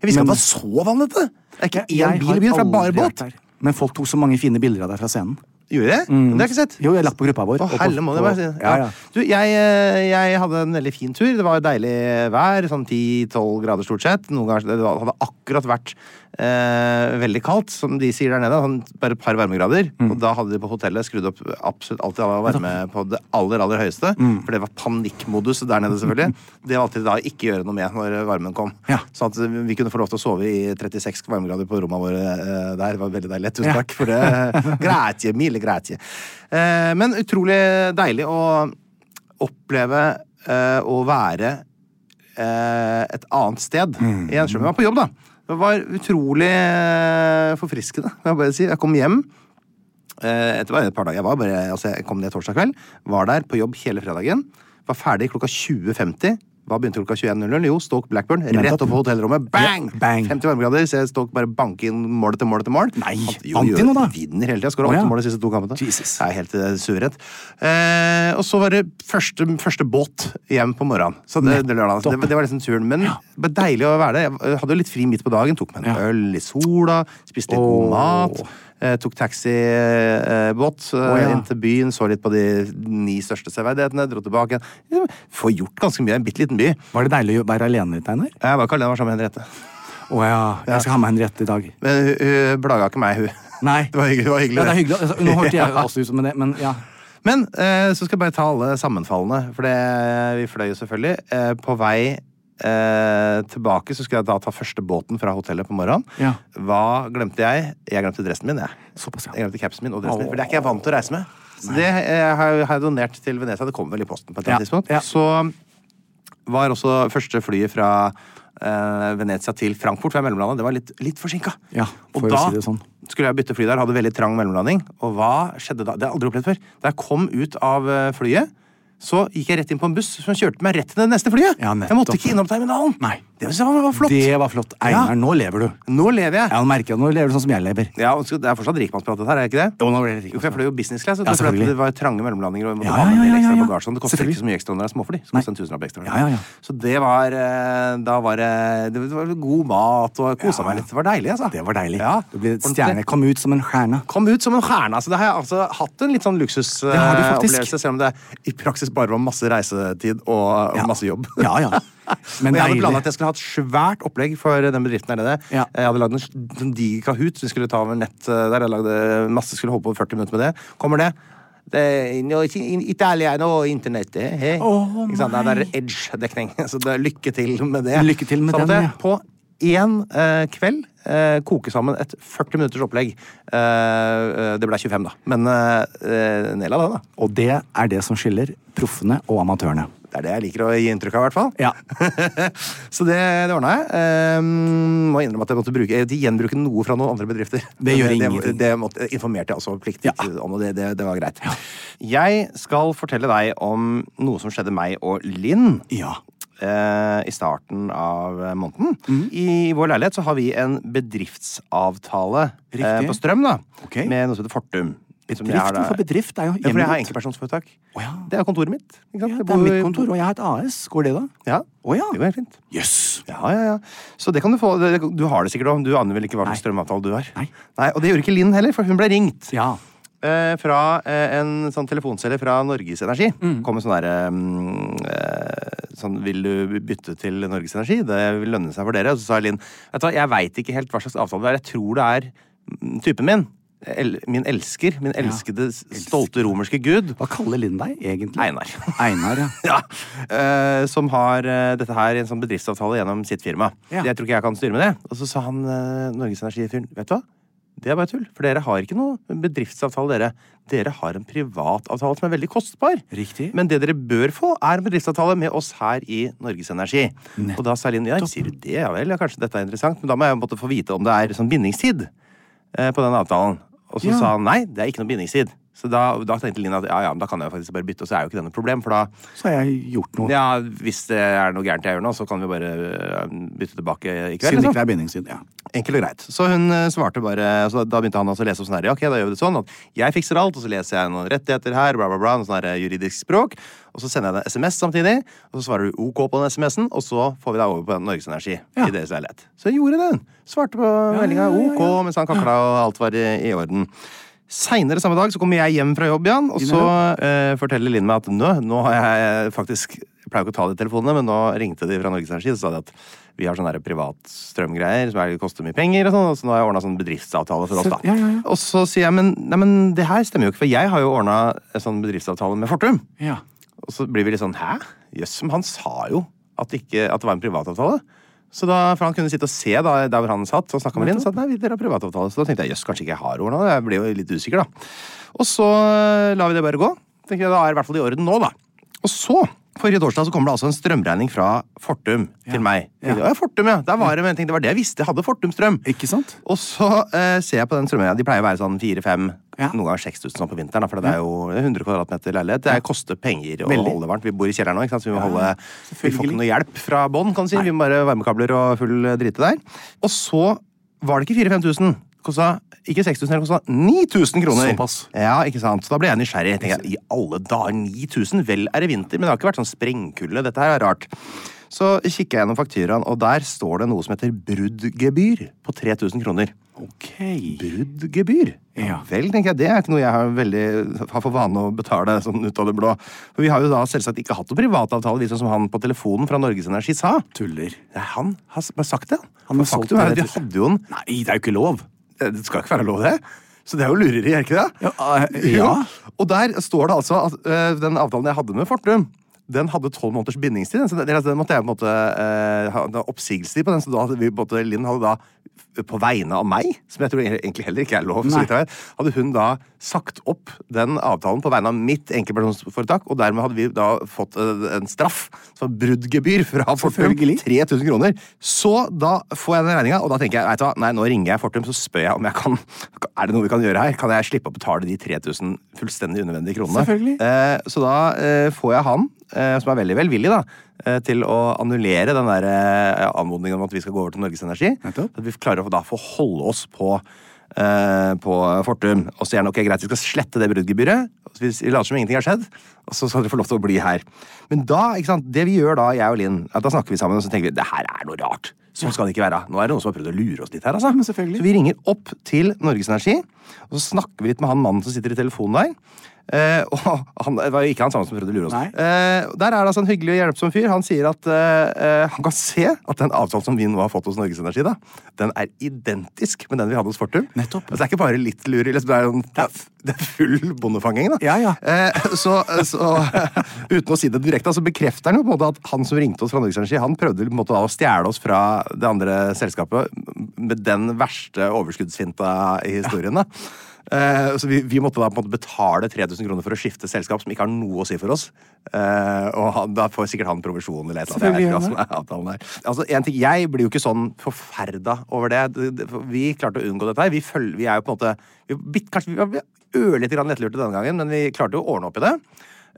S2: Jeg visste ikke at det var så vannete! Det er ikke
S3: Jeg
S2: én bil
S3: har
S2: i byen, for det er bare
S3: aldri
S2: båt.
S3: vært der. Men folk tok så mange fine bilder av deg fra scenen.
S2: Gjorde jeg? Men Det har jeg ikke sett.
S3: Jo, jeg la på gruppa vår.
S2: Å,
S3: og på-
S2: helle må det
S3: på-
S2: være.
S3: Ja, ja.
S2: Du, jeg, eh, jeg hadde en veldig fin tur. Det var deilig vær, sånn 10-12 grader stort sett. Noen ganger det var- hadde akkurat vært eh, veldig kaldt, som de sier der nede. Sånn, bare et par varmegrader.
S3: Mm.
S2: Og da hadde de på hotellet skrudd opp absolutt alt de hadde av varme på det aller, aller høyeste.
S3: Mm.
S2: For det var panikkmodus der nede, selvfølgelig. Det valgte de da ikke gjøre noe med når varmen kom.
S3: Ja.
S2: Sånn at vi kunne få lov til å sove i 36 varmegrader på rommene våre eh, der. Det var veldig deilig. Tusen
S3: Ja.
S2: takk for det. Grazie, mille grazie. Eh, Men utrolig deilig å oppleve eh, å være eh, et annet sted.
S3: Mm.
S2: Jeg skjønner jeg var på jobb, da. Det var utrolig eh, forfriskende, må jeg bare si. Jeg kom hjem. Eh, etter bare et par dager. Jeg, var bare, altså jeg kom ned torsdag kveld, var der på jobb hele fredagen. Var ferdig klokka 20.50. Hva begynte klokka 21.00? Jo, Stoke Blackburn. Rett opp på hotellrommet. Bang!
S3: Ja, bang.
S2: 50 varmegrader. Ser Stoke bare banke inn mål etter mål etter mål.
S3: Nei,
S2: Han- jo,
S3: vant de
S2: jo,
S3: nå da?
S2: Vinner hele tida. Skåra
S3: Å, ja.
S2: åtte mål de siste to kampene.
S3: Jesus.
S2: Det er helt eh, suverent. Eh, og så var det første, første båt hjem på morgenen. Så det, det, lørdag, så det, det var liksom turen. Men det var deilig å være der. Jeg hadde jo litt fri midt på dagen. Tok meg en
S3: Ja.
S2: øl i sola. Spiste litt god
S3: Åh.
S2: mat. Eh, tok taxibåt eh,
S3: Å, ja.
S2: inn til byen, så litt på de ni største severdighetene, dro tilbake igjen. Får gjort ganske mye i en bitte liten by.
S3: Var det deilig å være alene litt, Einar?
S2: Jeg var ikke alene, jeg var sammen med Henriette.
S3: Å ja. Jeg skal ha med Henriette i dag.
S2: Men hun, hun blaga ikke meg, hun.
S3: Nei.
S2: Det var hyggelig. Det var hyggelig
S3: Ja, det er hyggelig. Altså, Nå hørte jeg
S2: Ja.
S3: også ut som det, men ja.
S2: Men eh, så skal jeg bare ta alle sammenfallene, for det, vi fløy jo selvfølgelig. Eh, på vei eh, tilbake så skulle jeg da ta første båten fra hotellet på morgenen.
S3: Ja.
S2: Hva glemte jeg? Jeg glemte dressen min, jeg.
S3: Såpass, ja.
S2: Jeg glemte capsen min og dressen min, for det er ikke jeg vant til å reise med. Så det eh, har jeg- har jeg donert til Venezia. Det kommer vel i posten på et eller annet
S3: Ja,
S2: tidspunkt.
S3: ja.
S2: Så var også første flyet fra eh, Venezia til Frankfurt, fra mellomlandet. Det var litt, litt forsinka.
S3: Ja,
S2: og
S3: får jo
S2: da
S3: si det sånn.
S2: skulle jeg bytte fly der, hadde veldig trang mellomlanding. Og hva skjedde da? Det har jeg aldri opplevd før. Da jeg kom ut av eh, flyet, så gikk jeg rett inn på en buss som kjørte meg rett til det neste flyet.
S3: Ja, nettopp.
S2: jeg måtte ikke innom terminalen.
S3: Nei.
S2: Det synes jeg var flott.
S3: Det var flott. Einar, nå lever du.
S2: Nå lever jeg.
S3: Ja, nå merker jeg at nå lever du sånn som jeg lever.
S2: Ja, og så- Det er fortsatt rikmannsprat, dette her, er det ikke det?
S3: Jo, nå ble det rikmannspratet.
S2: Jo, for jeg fløy jo business class. vet du,
S3: Ja,
S2: fordi at
S3: selvfølgelig.
S2: det var trange mellomlandinger, og vi måtte
S3: Ja,
S2: ha med
S3: ja,
S2: en del
S3: ja,
S2: ekstra
S3: ja, ja.
S2: bagasje. og Det koster ikke
S3: Selvfølgelig.
S2: så mye ekstra når det er småfly. Så koster
S3: Nei.
S2: det en tusenlapp ekstra.
S3: Ja, ja, ja.
S2: Så det var eh, Da var det Det var god mat, og jeg kosa
S3: Ja,
S2: meg
S3: ja.
S2: litt. Det var deilig, altså.
S3: Det var deilig.
S2: Ja,
S3: Du ble
S2: ordentlig.
S3: stjerne. Kom ut som en stjerne.
S2: Kom ut som en stjerne. Altså, det har jeg altså hatt en litt sånn
S3: har du faktisk.
S2: luksusopplevelse, selv om det i praksis bare var masse reisetid og, og
S3: Ja.
S2: masse jobb.
S3: Ja, ja. Men
S2: Men jeg hadde
S3: deilig.
S2: planlagt at jeg skulle ha et svært opplegg for den bedriften der nede.
S3: Ja.
S2: Jeg hadde lagd en sånn diger Kahoot. Vi skulle ta over nett eh, der. Jeg lagde masse, skulle holde på 40 minutter med det. Kommer det? Det er no, in Italiano internett. eh, eh.
S3: Å,
S2: Ikke sant? Nei, Det er edge-dekning. Så det er lykke til med det.
S3: Lykke til med
S2: Så måtte
S3: den,
S2: jeg
S3: ja.
S2: På én eh, kveld eh, koke sammen et 40 minutters opplegg. Eh, eh, det ble 25, da. Men eh, eh, ned av det, da.
S3: Og det er det som skiller proffene og amatørene.
S2: Det er det jeg liker å gi inntrykk av, i hvert fall.
S3: Ja.
S2: så det, det ordna jeg. Ehm, må innrømme at jeg måtte bruke, jeg gjenbruke noe fra noen andre bedrifter.
S3: Det gjør
S2: det, det,
S3: ingenting.
S2: det måtte, informerte jeg også pliktig
S3: Ja.
S2: om, og det, det, det var greit. Jeg skal fortelle deg om noe som skjedde meg og Linn
S3: Ja.
S2: eh, i starten av eh, måneden.
S3: Mhm.
S2: I vår leilighet så har vi en bedriftsavtale eh,
S3: Riktig.
S2: på strøm da,
S3: Ok.
S2: med noe som heter Fortum. Som jeg har
S3: Bedriften
S2: da-
S3: for bedrift er jo
S2: Ja, for jeg har
S3: hjemmet.
S2: enkeltpersonsforetak.
S3: Å ja.
S2: Det er kontoret mitt. Ikke sant?
S3: Ja,
S2: Jeg
S3: det er mitt
S2: bor-
S3: kontor, og jeg har et AS. Går det, da?
S2: Ja.
S3: Å ja.
S2: Det går helt fint.
S3: Jøss!
S2: Ja, ja, ja. Så det kan du få. Det- Du har det sikkert òg. Du aner vel ikke hva slags strømavtale du har.
S3: Nei.
S2: Og det gjorde ikke Linn heller, for hun ble ringt
S3: Ja.
S2: eh, fra eh, en sånn telefonselger fra Norges Energi. Kom med sånn derre mm, eh, Sånn, vil du bytte til Norges Energi? Det vil lønne seg for dere. Og så sa Linn vet du hva, jeg veit ikke helt hva slags avtale det er. Jeg tror det er mm, typen min. El, min elsker. Min elskede, stolte romerske gud.
S3: Hva kaller Linn deg egentlig?
S2: Einar.
S3: Einar, ja.
S2: ja, eh, som har eh, dette her i en sånn bedriftsavtale gjennom sitt firma.
S3: Ja.
S2: Jeg tror ikke jeg kan styre med det. Og så sa han eh, Norges Energifyren, vet du hva? Det er bare tull, for dere har ikke noe bedriftsavtale, dere. Dere har en privatavtale som er veldig kostbar.
S3: Riktig.
S2: Men det dere bør få, er en bedriftsavtale med oss her i Norges Energi. Og da sa Linn ja, sier du det, ja vel, ja, kanskje dette er interessant, men da må jeg måtte få vite om det er sånn bindingstid eh, på den avtalen. Og så
S3: Ja.
S2: sa han nei, det er ikke noe bindingstid. Så da, da tenkte Linn at ja, ja, men da kan jeg faktisk bare bytte, og så er jo ikke det noe problem, for da
S3: Så har jeg gjort noe.
S2: ja, hvis det er noe gærent jeg gjør nå, så kan vi bare øh, bytte tilbake i kveld.
S3: Siden det ikke
S2: Liksom.
S3: er bindingstid. Ja.
S2: Enkel og greit. Så hun øh, svarte bare så Da begynte han altså å lese opp sånn her. Ja, ok, da gjør vi det sånn at jeg fikser alt, og så leser jeg noen rettigheter her, bla, bla, bla, noe sånn her juridisk språk, og så sender jeg en SMS samtidig, og så svarer du OK på den SMS-en, og så får vi deg over på Norges Energi
S3: Ja.
S2: i deres leilighet. Så hun gjorde det, hun. Svarte på meldinga OK mens han kakla, og alt var i, i orden. Seinere samme dag så kommer jeg hjem fra jobb igjen, og så eh, forteller Linn meg at nå, nå har jeg eh, faktisk Jeg pleier ikke å ta de telefonene, men nå ringte de fra Norges Energi og sa de at vi har sånne her privatstrømgreier som er- koster mye penger, og sånn, og så nå har jeg ordna sånn bedriftsavtale for oss, da.
S3: Så- ja, ja, ja.
S2: Og så sier jeg men, nei, men det her stemmer jo ikke, for jeg har jo ordna en sånn bedriftsavtale med Fortum.
S3: ja.
S2: Og så blir vi litt sånn hæ? Jøss, men han sa jo at, ikke, at det var en privatavtale. Så da, For han kunne sitte og se da, der hvor han satt og snakka med Linn. Så nei, dere har privatavtale. Så da tenkte jeg jøss, kanskje ikke jeg har ordna det. Jeg ble jo litt usikker, da. Og så øh, lar vi det bare gå. Tenker jeg, Da er det i hvert fall i orden nå, da. Og så, forrige torsdag, så kom det altså en strømregning fra Fortum til meg.
S3: Ja.
S2: Ja. ja, Fortum, ja. Der var det, men jeg tenkte, det var det jeg visste. Jeg hadde Fortum strøm.
S3: Ikke sant?
S2: Og så eh, ser jeg på den strømøya. De pleier å være sånn 4-5,
S3: Ja.
S2: noen ganger 6000 nå på vinteren. da, For det er jo 100 kvadratmeter leilighet. Det er- koster penger å
S3: Veldig.
S2: holde varmt. Vi bor i kjelleren nå, ikke sant? så vi må holde Vi får
S3: selvfølgelig.
S2: ikke noe hjelp fra bånn, kan du si. Vi må bare varmekabler og full eh, drite der. Og så var det ikke 4000-5000. Kosta ikke 6000, det kosta 9000 kroner.
S3: Såpass.
S2: Ja, ikke sant? Så da ble jeg nysgjerrig. Tenkte jeg, I alle dager, 9000? Vel er det vinter, men det har ikke vært sånn sprengkulde. Dette her er rart. Så kikker jeg gjennom fakturaen, og der står det noe som heter bruddgebyr på 3000 kroner.
S3: Ok.
S2: Bruddgebyr?
S3: Ja.
S2: Vel, tenker jeg, det er ikke noe jeg har, veldig, har for vane å betale sånn ut av det blå. For vi har jo da selvsagt ikke hatt noen privatavtale, vi sånn som han på telefonen fra Norges Energi sa.
S3: Tuller.
S2: Nei, han har s- bare sagt det.
S3: Han har
S2: For
S3: solgt
S2: faktum er
S3: det
S2: at vi
S3: rett ut.
S2: hadde jo en
S3: Nei, det er jo ikke lov.
S2: det skal ikke være lov, det. Så det er jo lureri, er det ikke det?
S3: Ja, eh, ja.
S2: Jo. Og der står det altså at eh, den avtalen jeg hadde med Fortum, den hadde tolv måneders bindingstid. Så den, den måtte jeg på en måte eh, ha ha oppsigelsestid på den. Så da hadde vi, både Linn hadde da, på vegne av meg, som jeg tror egentlig heller ikke er lov, så
S3: Nei.
S2: vidt jeg vet, hadde hun da sagt opp den avtalen på vegne av mitt enkeltpersonforetak, og dermed hadde vi da fått eh, en straff som bruddgebyr fra Fortum.
S3: Selvfølgelig.
S2: 3000 kroner. Så da får jeg den regninga, og da tenker jeg vet du hva, nei, nå ringer jeg Fortum så spør jeg om jeg kan Er det noe vi kan gjøre her. Kan jeg slippe å betale de 3000 fullstendig unødvendige kronene?
S3: Selvfølgelig.
S2: Eh, så da eh, får jeg han, eh, som er veldig velvillig, da, eh, til å annullere den der eh, anmodningen om at vi skal gå over til Norges Energi.
S3: Nettopp.
S2: At vi klarer å da få holde oss på eh, på Fortum. Og så gjerne ok, greit, vi skal slette det bruddgebyret. og så Vi vi later som ingenting har skjedd, og så skal dere få lov til å bli her. Men da, ikke sant, det vi gjør da, jeg og Linn, er at da snakker vi sammen og så tenker vi, det her er noe rart. Sånn skal det ikke være. Nå er det noen som har prøvd å lure oss litt her. altså.
S3: Men selvfølgelig.
S2: Så vi ringer opp til Norges Energi, og så snakker vi litt med han mannen som sitter i telefonen der. Eh, og han, Det var jo ikke han samme som prøvde å lure oss.
S3: Nei.
S2: Eh, der er det altså en hyggelig og hjelpsom fyr. Han sier at eh, eh, han kan se at den avtalen som vi nå har fått hos Norges Energi, da, den er identisk med den vi hadde hos Fortum.
S3: Nettopp.
S2: Altså, det er ikke bare litt lureri. liksom, Det er, sånn- det er, det er full bondefanging, da.
S3: Ja, ja.
S2: Eh, så, så uten å si det direkte, så bekrefter han jo på en måte at han som ringte oss fra Norges Energi, han prøvde på en måte da å stjele oss fra det andre selskapet med den verste overskuddsfinta i historien. da. Eh, så vi, vi måtte da på en måte betale 3000 kroner for å skifte selskap som ikke har noe å si for oss. Eh, og han, da får sikkert han provisjon eller et eller annet. Jeg vet ikke hva som er avtalen der. Altså, en ting, jeg blir jo ikke sånn forferda over det. Det- det- Vi klarte å unngå dette her. Vi, følger, vi er jo på en måte vi, er bitt- Kanskje vi var ørlite grann lettlurte denne gangen, men vi klarte jo å ordne opp i det.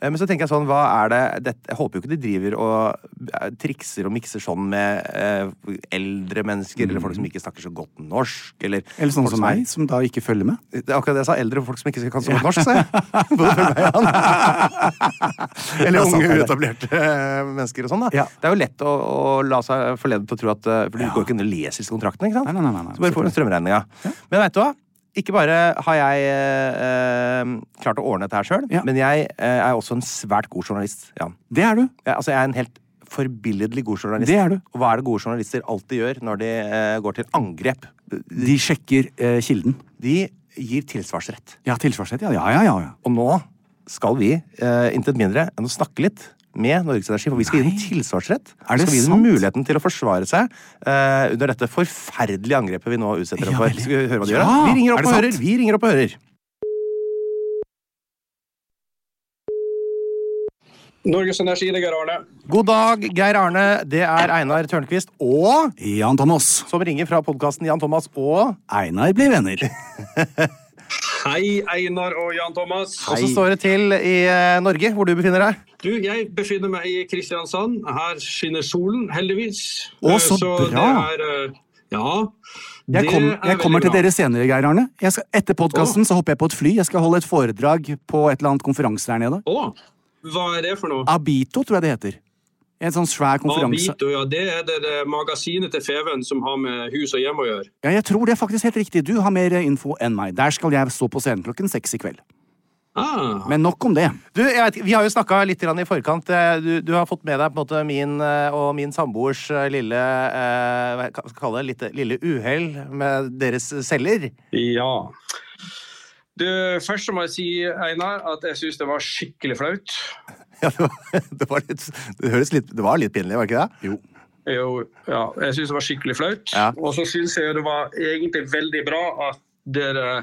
S2: Eh, Men så tenker jeg sånn, hva er det dette, Jeg håper jo ikke de driver og eh, trikser og mikser sånn med eh, eldre mennesker, eller folk som ikke snakker så godt norsk, eller
S3: Mm. Eller sånn
S2: folk
S3: som
S2: er-
S3: meg, som da ikke følger med.
S2: Det er akkurat det jeg sa. Eldre folk som ikke kan så godt norsk, sa jeg. Både følg meg, Jan. Eller
S3: Ja, sant,
S2: unge,
S3: det.
S2: uetablerte eh, mennesker og sånn. da.
S3: Ja.
S2: Det er jo lett å, å la seg forlede til å tro at eh, For du går ikke inn og leser disse kontraktene, ikke sant?
S3: Nei, nei, nei, nei,
S2: så bare får du strømregninga. Men veit du hva? Ikke bare har jeg eh, eh, klart å ordne dette her sjøl,
S3: Ja.
S2: men jeg eh, er også en svært god journalist, Jan.
S3: Det er du.
S2: Jeg, altså, jeg er en helt forbilledlig god journalist.
S3: Det er du.
S2: Og hva er det gode journalister alltid gjør når de eh, går til angrep?
S3: De sjekker eh, kilden.
S2: De gir tilsvarsrett.
S3: Ja, tilsvarsrett. Ja, ja, ja. ja, ja.
S2: Og nå skal vi, eh, intet mindre enn å snakke litt med Norges Energi, for vi skal gi dem tilsvarsrett.
S3: Er det
S2: vi skal gi
S3: sant?
S2: dem muligheten til å forsvare seg eh, under dette forferdelige angrepet vi nå utsetter dem
S3: Ja,
S2: for.
S3: veldig.
S2: Skal vi høre hva de gjør?
S3: Ja,
S2: da? Vi ringer
S3: er
S2: opp
S3: det
S2: og
S3: sant?
S2: hører. Vi ringer opp og hører.
S6: Norges Energi, det er Geir Arne.
S2: God dag, Geir Arne. Det er Einar Tørnquist og
S3: Jan Thomas.
S2: som ringer fra podkasten Jan Thomas og
S3: Einar blir venner.
S6: Hei, Einar og Jan Thomas.
S2: Og så står det til i eh, Norge, hvor du befinner deg.
S6: Du, jeg befinner meg i Kristiansand. Her skinner solen, heldigvis.
S3: Å,
S6: Eh,
S3: så bra.
S6: Det er, eh, ja.
S3: Jeg, kom,
S6: det er
S3: jeg kommer
S6: veldig
S3: til
S6: bra.
S3: dere senere, Geir Arne. Jeg skal, etter podkasten så hopper jeg på et fly. Jeg skal holde et foredrag på et eller annet konferanse der nede.
S6: Å, hva er det for noe?
S3: Abito, tror jeg det heter. En sånn svær konferanse.
S6: Avito, ja. Det er det, det magasinet til Feven som har med hus og hjem å gjøre.
S3: Ja, jeg tror det er faktisk helt riktig. Du har mer eh, info enn meg. Der skal jeg stå på scenen klokken seks i kveld.
S6: Ah,
S3: Men nok om det.
S2: Du, jeg vet, ikke, vi har jo snakka litt grann i forkant. Eh, Du, du har fått med deg på en måte min eh, og min samboers eh, lille eh, Hva skal jeg kalle det? Litt, lille uhell med deres celler.
S6: ja. Du, først så må jeg si, Einar, at jeg syns det var skikkelig flaut.
S2: Ja, det, var, det, var litt, det, høres litt, det var litt pinlig, var det ikke det? Jo.
S6: Jo, ja, jeg syns det var skikkelig flaut.
S2: Ja.
S6: Og så syns jeg det var egentlig veldig bra at dere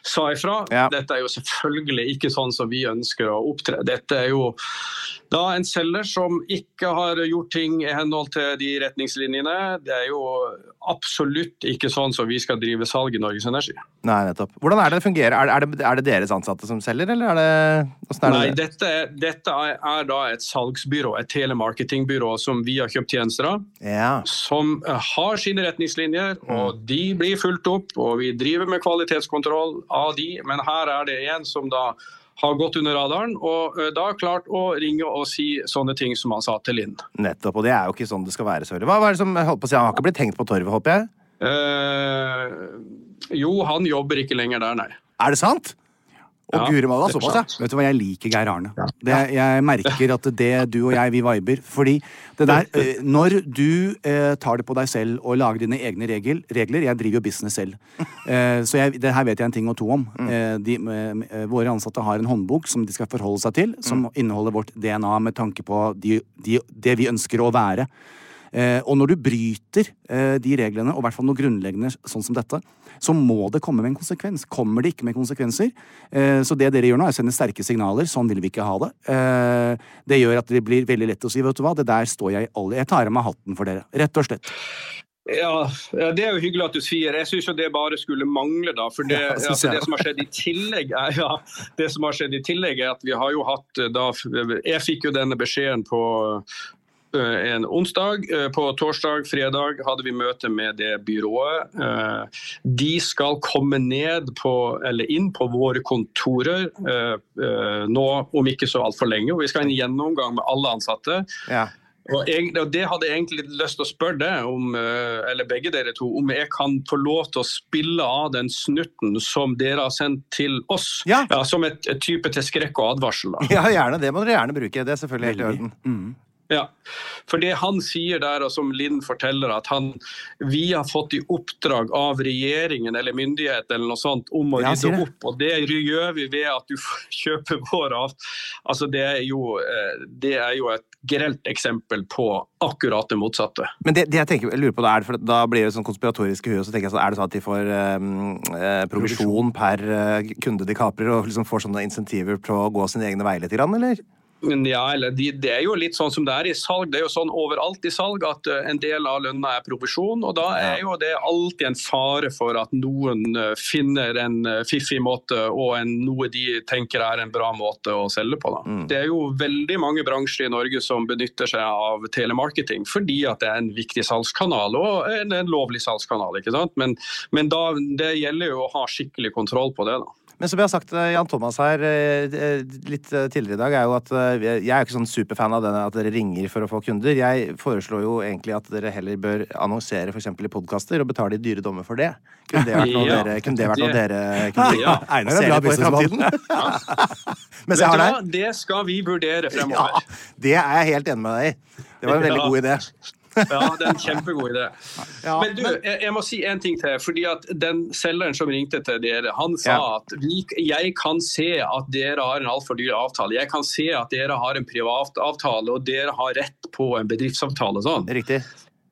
S6: sa ifra.
S2: Ja.
S6: Dette er jo selvfølgelig ikke sånn som vi ønsker å opptre. Dette er jo da en selger som ikke har gjort ting i henhold til de retningslinjene. Det er jo absolutt ikke sånn som vi skal drive salg i Norges Energi.
S2: Nei, nettopp. Hvordan er det det fungerer? Er, er, det, er det deres ansatte som selger, eller er det åssen er
S6: Nei,
S2: det?
S6: dette, er- dette er, er da et salgsbyrå, et telemarketingbyrå som vi har kjøpt tjenester av.
S2: Ja.
S6: som eh, har sine retningslinjer, og de blir fulgt opp. Og vi driver med kvalitetskontroll av de, men her er det en som da har gått under radaren, og eh, da klart å ringe og si sånne ting som han sa til Linn.
S2: Nettopp. Og det er jo ikke sånn det skal være, Søre. Hva, hva er det som jeg holdt på å si? Han har ikke blitt tenkt på torvet, håper jeg?
S6: Eh, jo, han jobber ikke lenger der, nei.
S2: Er det sant? Å,
S6: Ja,
S2: guri malla,
S6: det er
S2: såpass,
S6: sant.
S2: ja.
S3: Vet du hva, jeg liker Geir Arne. Det, jeg merker at det du og jeg, vi viber. Fordi det der eh, Når du eh, tar det på deg selv og lager dine egne regel, regler Jeg driver jo business selv. Eh, så jeg, det her vet jeg en ting og to om.
S6: Mm.
S3: Eh, de, eh, våre ansatte har en håndbok som de skal forholde seg til, som
S6: Mm.
S3: inneholder vårt DNA med tanke på de, de, det vi ønsker å være. Eh, og når du bryter eh, de reglene, og i hvert fall noe grunnleggende sånn som dette, så må det komme med en konsekvens. Kommer det ikke med konsekvenser? Eh, så det dere gjør nå, er å sende sterke signaler. Sånn vil vi ikke ha det. Eh, det gjør at det blir veldig lett å si, vet du hva, det der står jeg i alle Jeg tar av meg hatten for dere. Rett og slett.
S6: Ja, ja, Det er jo hyggelig at du sier. Jeg syns det bare skulle mangle, da. For det,
S2: Ja, det synes
S6: altså,
S2: jeg.
S6: det som har skjedd i tillegg, er, ja, det som har skjedd i tillegg er at vi har jo hatt eh, da, Jeg fikk jo denne beskjeden på eh, en onsdag. Eh, På torsdag, fredag hadde vi møte med det byrået. Eh, De skal komme ned på, eller inn på våre kontorer eh, eh, nå om ikke så altfor lenge. Og vi skal ha en gjennomgang med alle ansatte.
S2: ja.
S6: Og, egentlig, og Det hadde jeg egentlig litt lyst til å spørre deg om, eh, eller begge dere to, om jeg kan få lov til å spille av den snutten som dere har sendt til oss.
S2: Ja.
S6: som et, et type til skrekk og advarsel. Da.
S2: Ja, gjerne. Det må dere gjerne bruke. Det er selvfølgelig helt i orden.
S6: Ja. For det han sier der, og som Linn forteller, at han, vi har fått i oppdrag av regjeringen eller myndighetene eller noe sånt om å
S2: Ja, han sier
S6: rydde
S2: det.
S6: opp, og det gjør vi ved at du f- kjøper vår avt... Altså, det er jo, eh, det er jo et grelt eksempel på akkurat det motsatte.
S2: Men det, det jeg, tenker, jeg lurer på det er, for da blir det sånn konspiratorisk i huet, og så tenker jeg sånn, er det sånn at de får eh, eh, provisjon per eh, kunde de kaprer, og liksom får sånne insentiver til å gå sine egne veier litt, grann, eller?
S6: Ja, eller de, Det er jo litt sånn som det er i salg. Det er jo sånn overalt i salg at eh, en del av lønna er provisjon. og Da er jo det alltid en fare for at noen eh, finner en eh, fiffig måte og en, noe de tenker er en bra måte å selge på. Da.
S2: Mm.
S6: Det er jo veldig mange bransjer i Norge som benytter seg av telemarketing fordi at det er en viktig salgskanal og en, en lovlig salgskanal. ikke sant? Men, men da, det gjelder jo å ha skikkelig kontroll på det. da.
S2: Men som jeg har sagt til Jan Thomas her eh, eh, litt eh, tidligere i dag, er jo at eh, jeg er jo ikke sånn superfan av denne at dere ringer for å få kunder. Jeg foreslår jo egentlig eh, at dere heller bør annonsere f.eks. i podkaster og betale i dyre dommer for det. Kunne det vært noe
S6: Ja.
S2: dere kunne det vært noe
S6: Det-
S2: dere kunne
S6: Ja.
S3: Einar er
S2: se
S3: bra
S2: litt på i
S3: businessmann.
S2: fremtiden? Mens
S6: Vet
S2: jeg
S6: du
S2: har
S6: hva?
S2: deg.
S6: Det skal vi vurdere
S2: Ja,
S6: fremover.
S2: det er jeg helt enig med deg i. Det var en veldig
S6: Ja.
S2: god idé.
S6: Ja, det er en kjempegod idé. men du, jeg, jeg må si en ting til. fordi at Den selgeren som ringte til dere, han sa
S2: Ja.
S6: at vi, jeg kan se at dere har en altfor dyr avtale. Jeg kan se at dere har en privat avtale, og dere har rett på en bedriftsavtale. og Sånn.
S2: Riktig.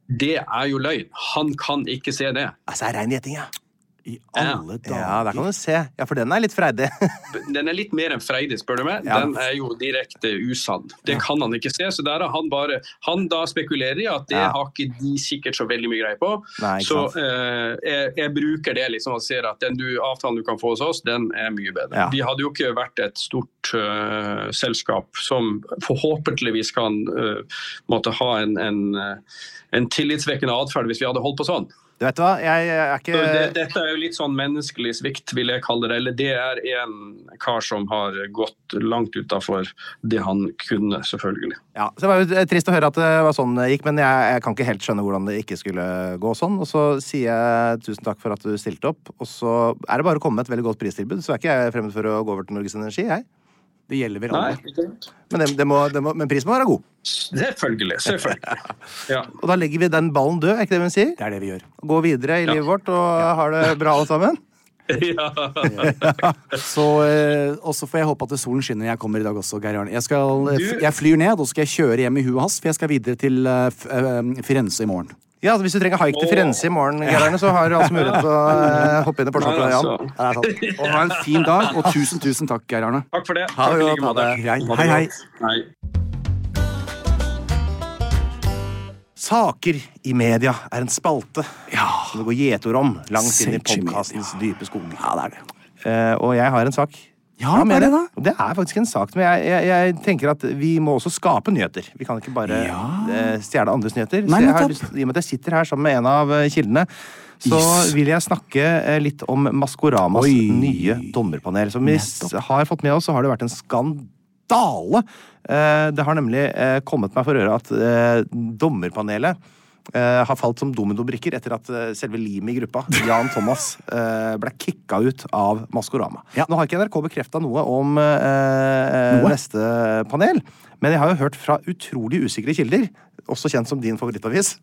S6: Det er jo løgn. Han kan ikke se det.
S2: Altså, det er rein gjetting, ja.
S3: I alle
S2: Ja, der
S3: dager.
S2: kan du se. Ja, for den er litt freidig.
S6: Den er litt mer enn freidig, spør du meg.
S2: Ja.
S6: Den er jo direkte usann. Det kan han ikke se. Så der er han bare Han da spekulerer i at det
S2: Ja.
S6: har ikke de sikkert så veldig mye greie på.
S2: Nei, ikke
S6: så
S2: sant.
S6: eh, jeg, jeg bruker det liksom og ser at den du, avtalen du kan få hos oss, den er mye bedre.
S2: Ja.
S6: Vi hadde jo ikke vært et stort eh, selskap som forhåpentligvis kan eh, måtte ha en, en, eh, en tillitsvekkende atferd hvis vi hadde holdt på sånn.
S2: Du vet hva, jeg er ikke
S6: Så
S3: Eh,
S6: det, dette er jo litt sånn menneskelig svikt, vil jeg kalle det. Eller det er en kar som har gått langt utafor det han kunne, selvfølgelig.
S2: Ja, så Det var jo eh, trist å høre at det var sånn det gikk, men jeg, jeg kan ikke helt skjønne hvordan det ikke skulle gå sånn. Og så sier jeg tusen takk for at du stilte opp, og så er det bare å komme med et veldig godt pristilbud. Så er ikke jeg fremmed for å gå over til Norges Energi, jeg.
S3: Det gjelder vel
S6: Nei,
S3: alle.
S6: ikke sant?
S2: Men, det, det må, det må, men prisen må være god.
S6: Selvfølgelig. Selvfølgelig. Ja.
S2: Og da legger vi den ballen død, er ikke det hun sier?
S3: Det er det vi gjør.
S2: Gå videre i livet vårt og har det bra, alle sammen.
S6: ja.
S3: Så, eh, og så får jeg håpe at solen skinner når jeg kommer i dag også, Geir Arne. Jeg, skal, eh,
S6: Du-
S3: jeg flyr ned, og så skal jeg kjøre hjem i huet hans, for jeg skal videre til eh, F- eh, Firenze i morgen.
S2: Ja, altså Hvis du trenger haik til
S6: Åh.
S2: Firenze i morgen, Geir Arne, så har du altså mulighet til å eh, hoppe inn i Porsgrunn
S6: Nei,
S2: til Jan.
S6: altså.
S3: Ja, det er sant. Og ha en fin dag, og tusen, tusen takk, Geir Arne.
S6: Takk for det.
S2: Ha det
S6: Takk i
S2: godt,
S6: like måte.
S2: ha det.
S3: Greit.
S6: Ha det
S3: Hei, hei.
S6: godt. Hei.
S2: Saker i media er en spalte som det går gjetord om langt inn i
S3: Saker i media.
S2: podkastens dype skog.
S3: Ja, det er det.
S2: Eh, og jeg har en sak.
S3: Ja,
S2: med
S3: hva er det da?
S2: Og Det er faktisk en sak, men jeg, jeg, jeg tenker at vi må også skape nyheter. Vi kan ikke bare eh, stjele andres nyheter.
S3: Nei,
S2: så jeg har
S3: nettopp.
S2: lyst, I og med at jeg sitter her sammen med en av eh, kildene, så
S3: Yes.
S2: vil jeg snakke eh, litt om Maskoramas
S3: Oi.
S2: nye dommerpanel. Som vi s- har fått med oss, så har det vært en skandale. Eh, det har nemlig eh, kommet meg for øre at eh, dommerpanelet eh, har falt som dominobrikker etter at eh, selve limet i gruppa, Jan Thomas, eh, ble kicka ut av Maskorama.
S3: Ja.
S2: Nå har ikke NRK bekrefta noe om eh, eh,
S3: Noe?
S2: neste panel, men jeg har jo hørt fra utrolig usikre kilder, også kjent som din favorittavis,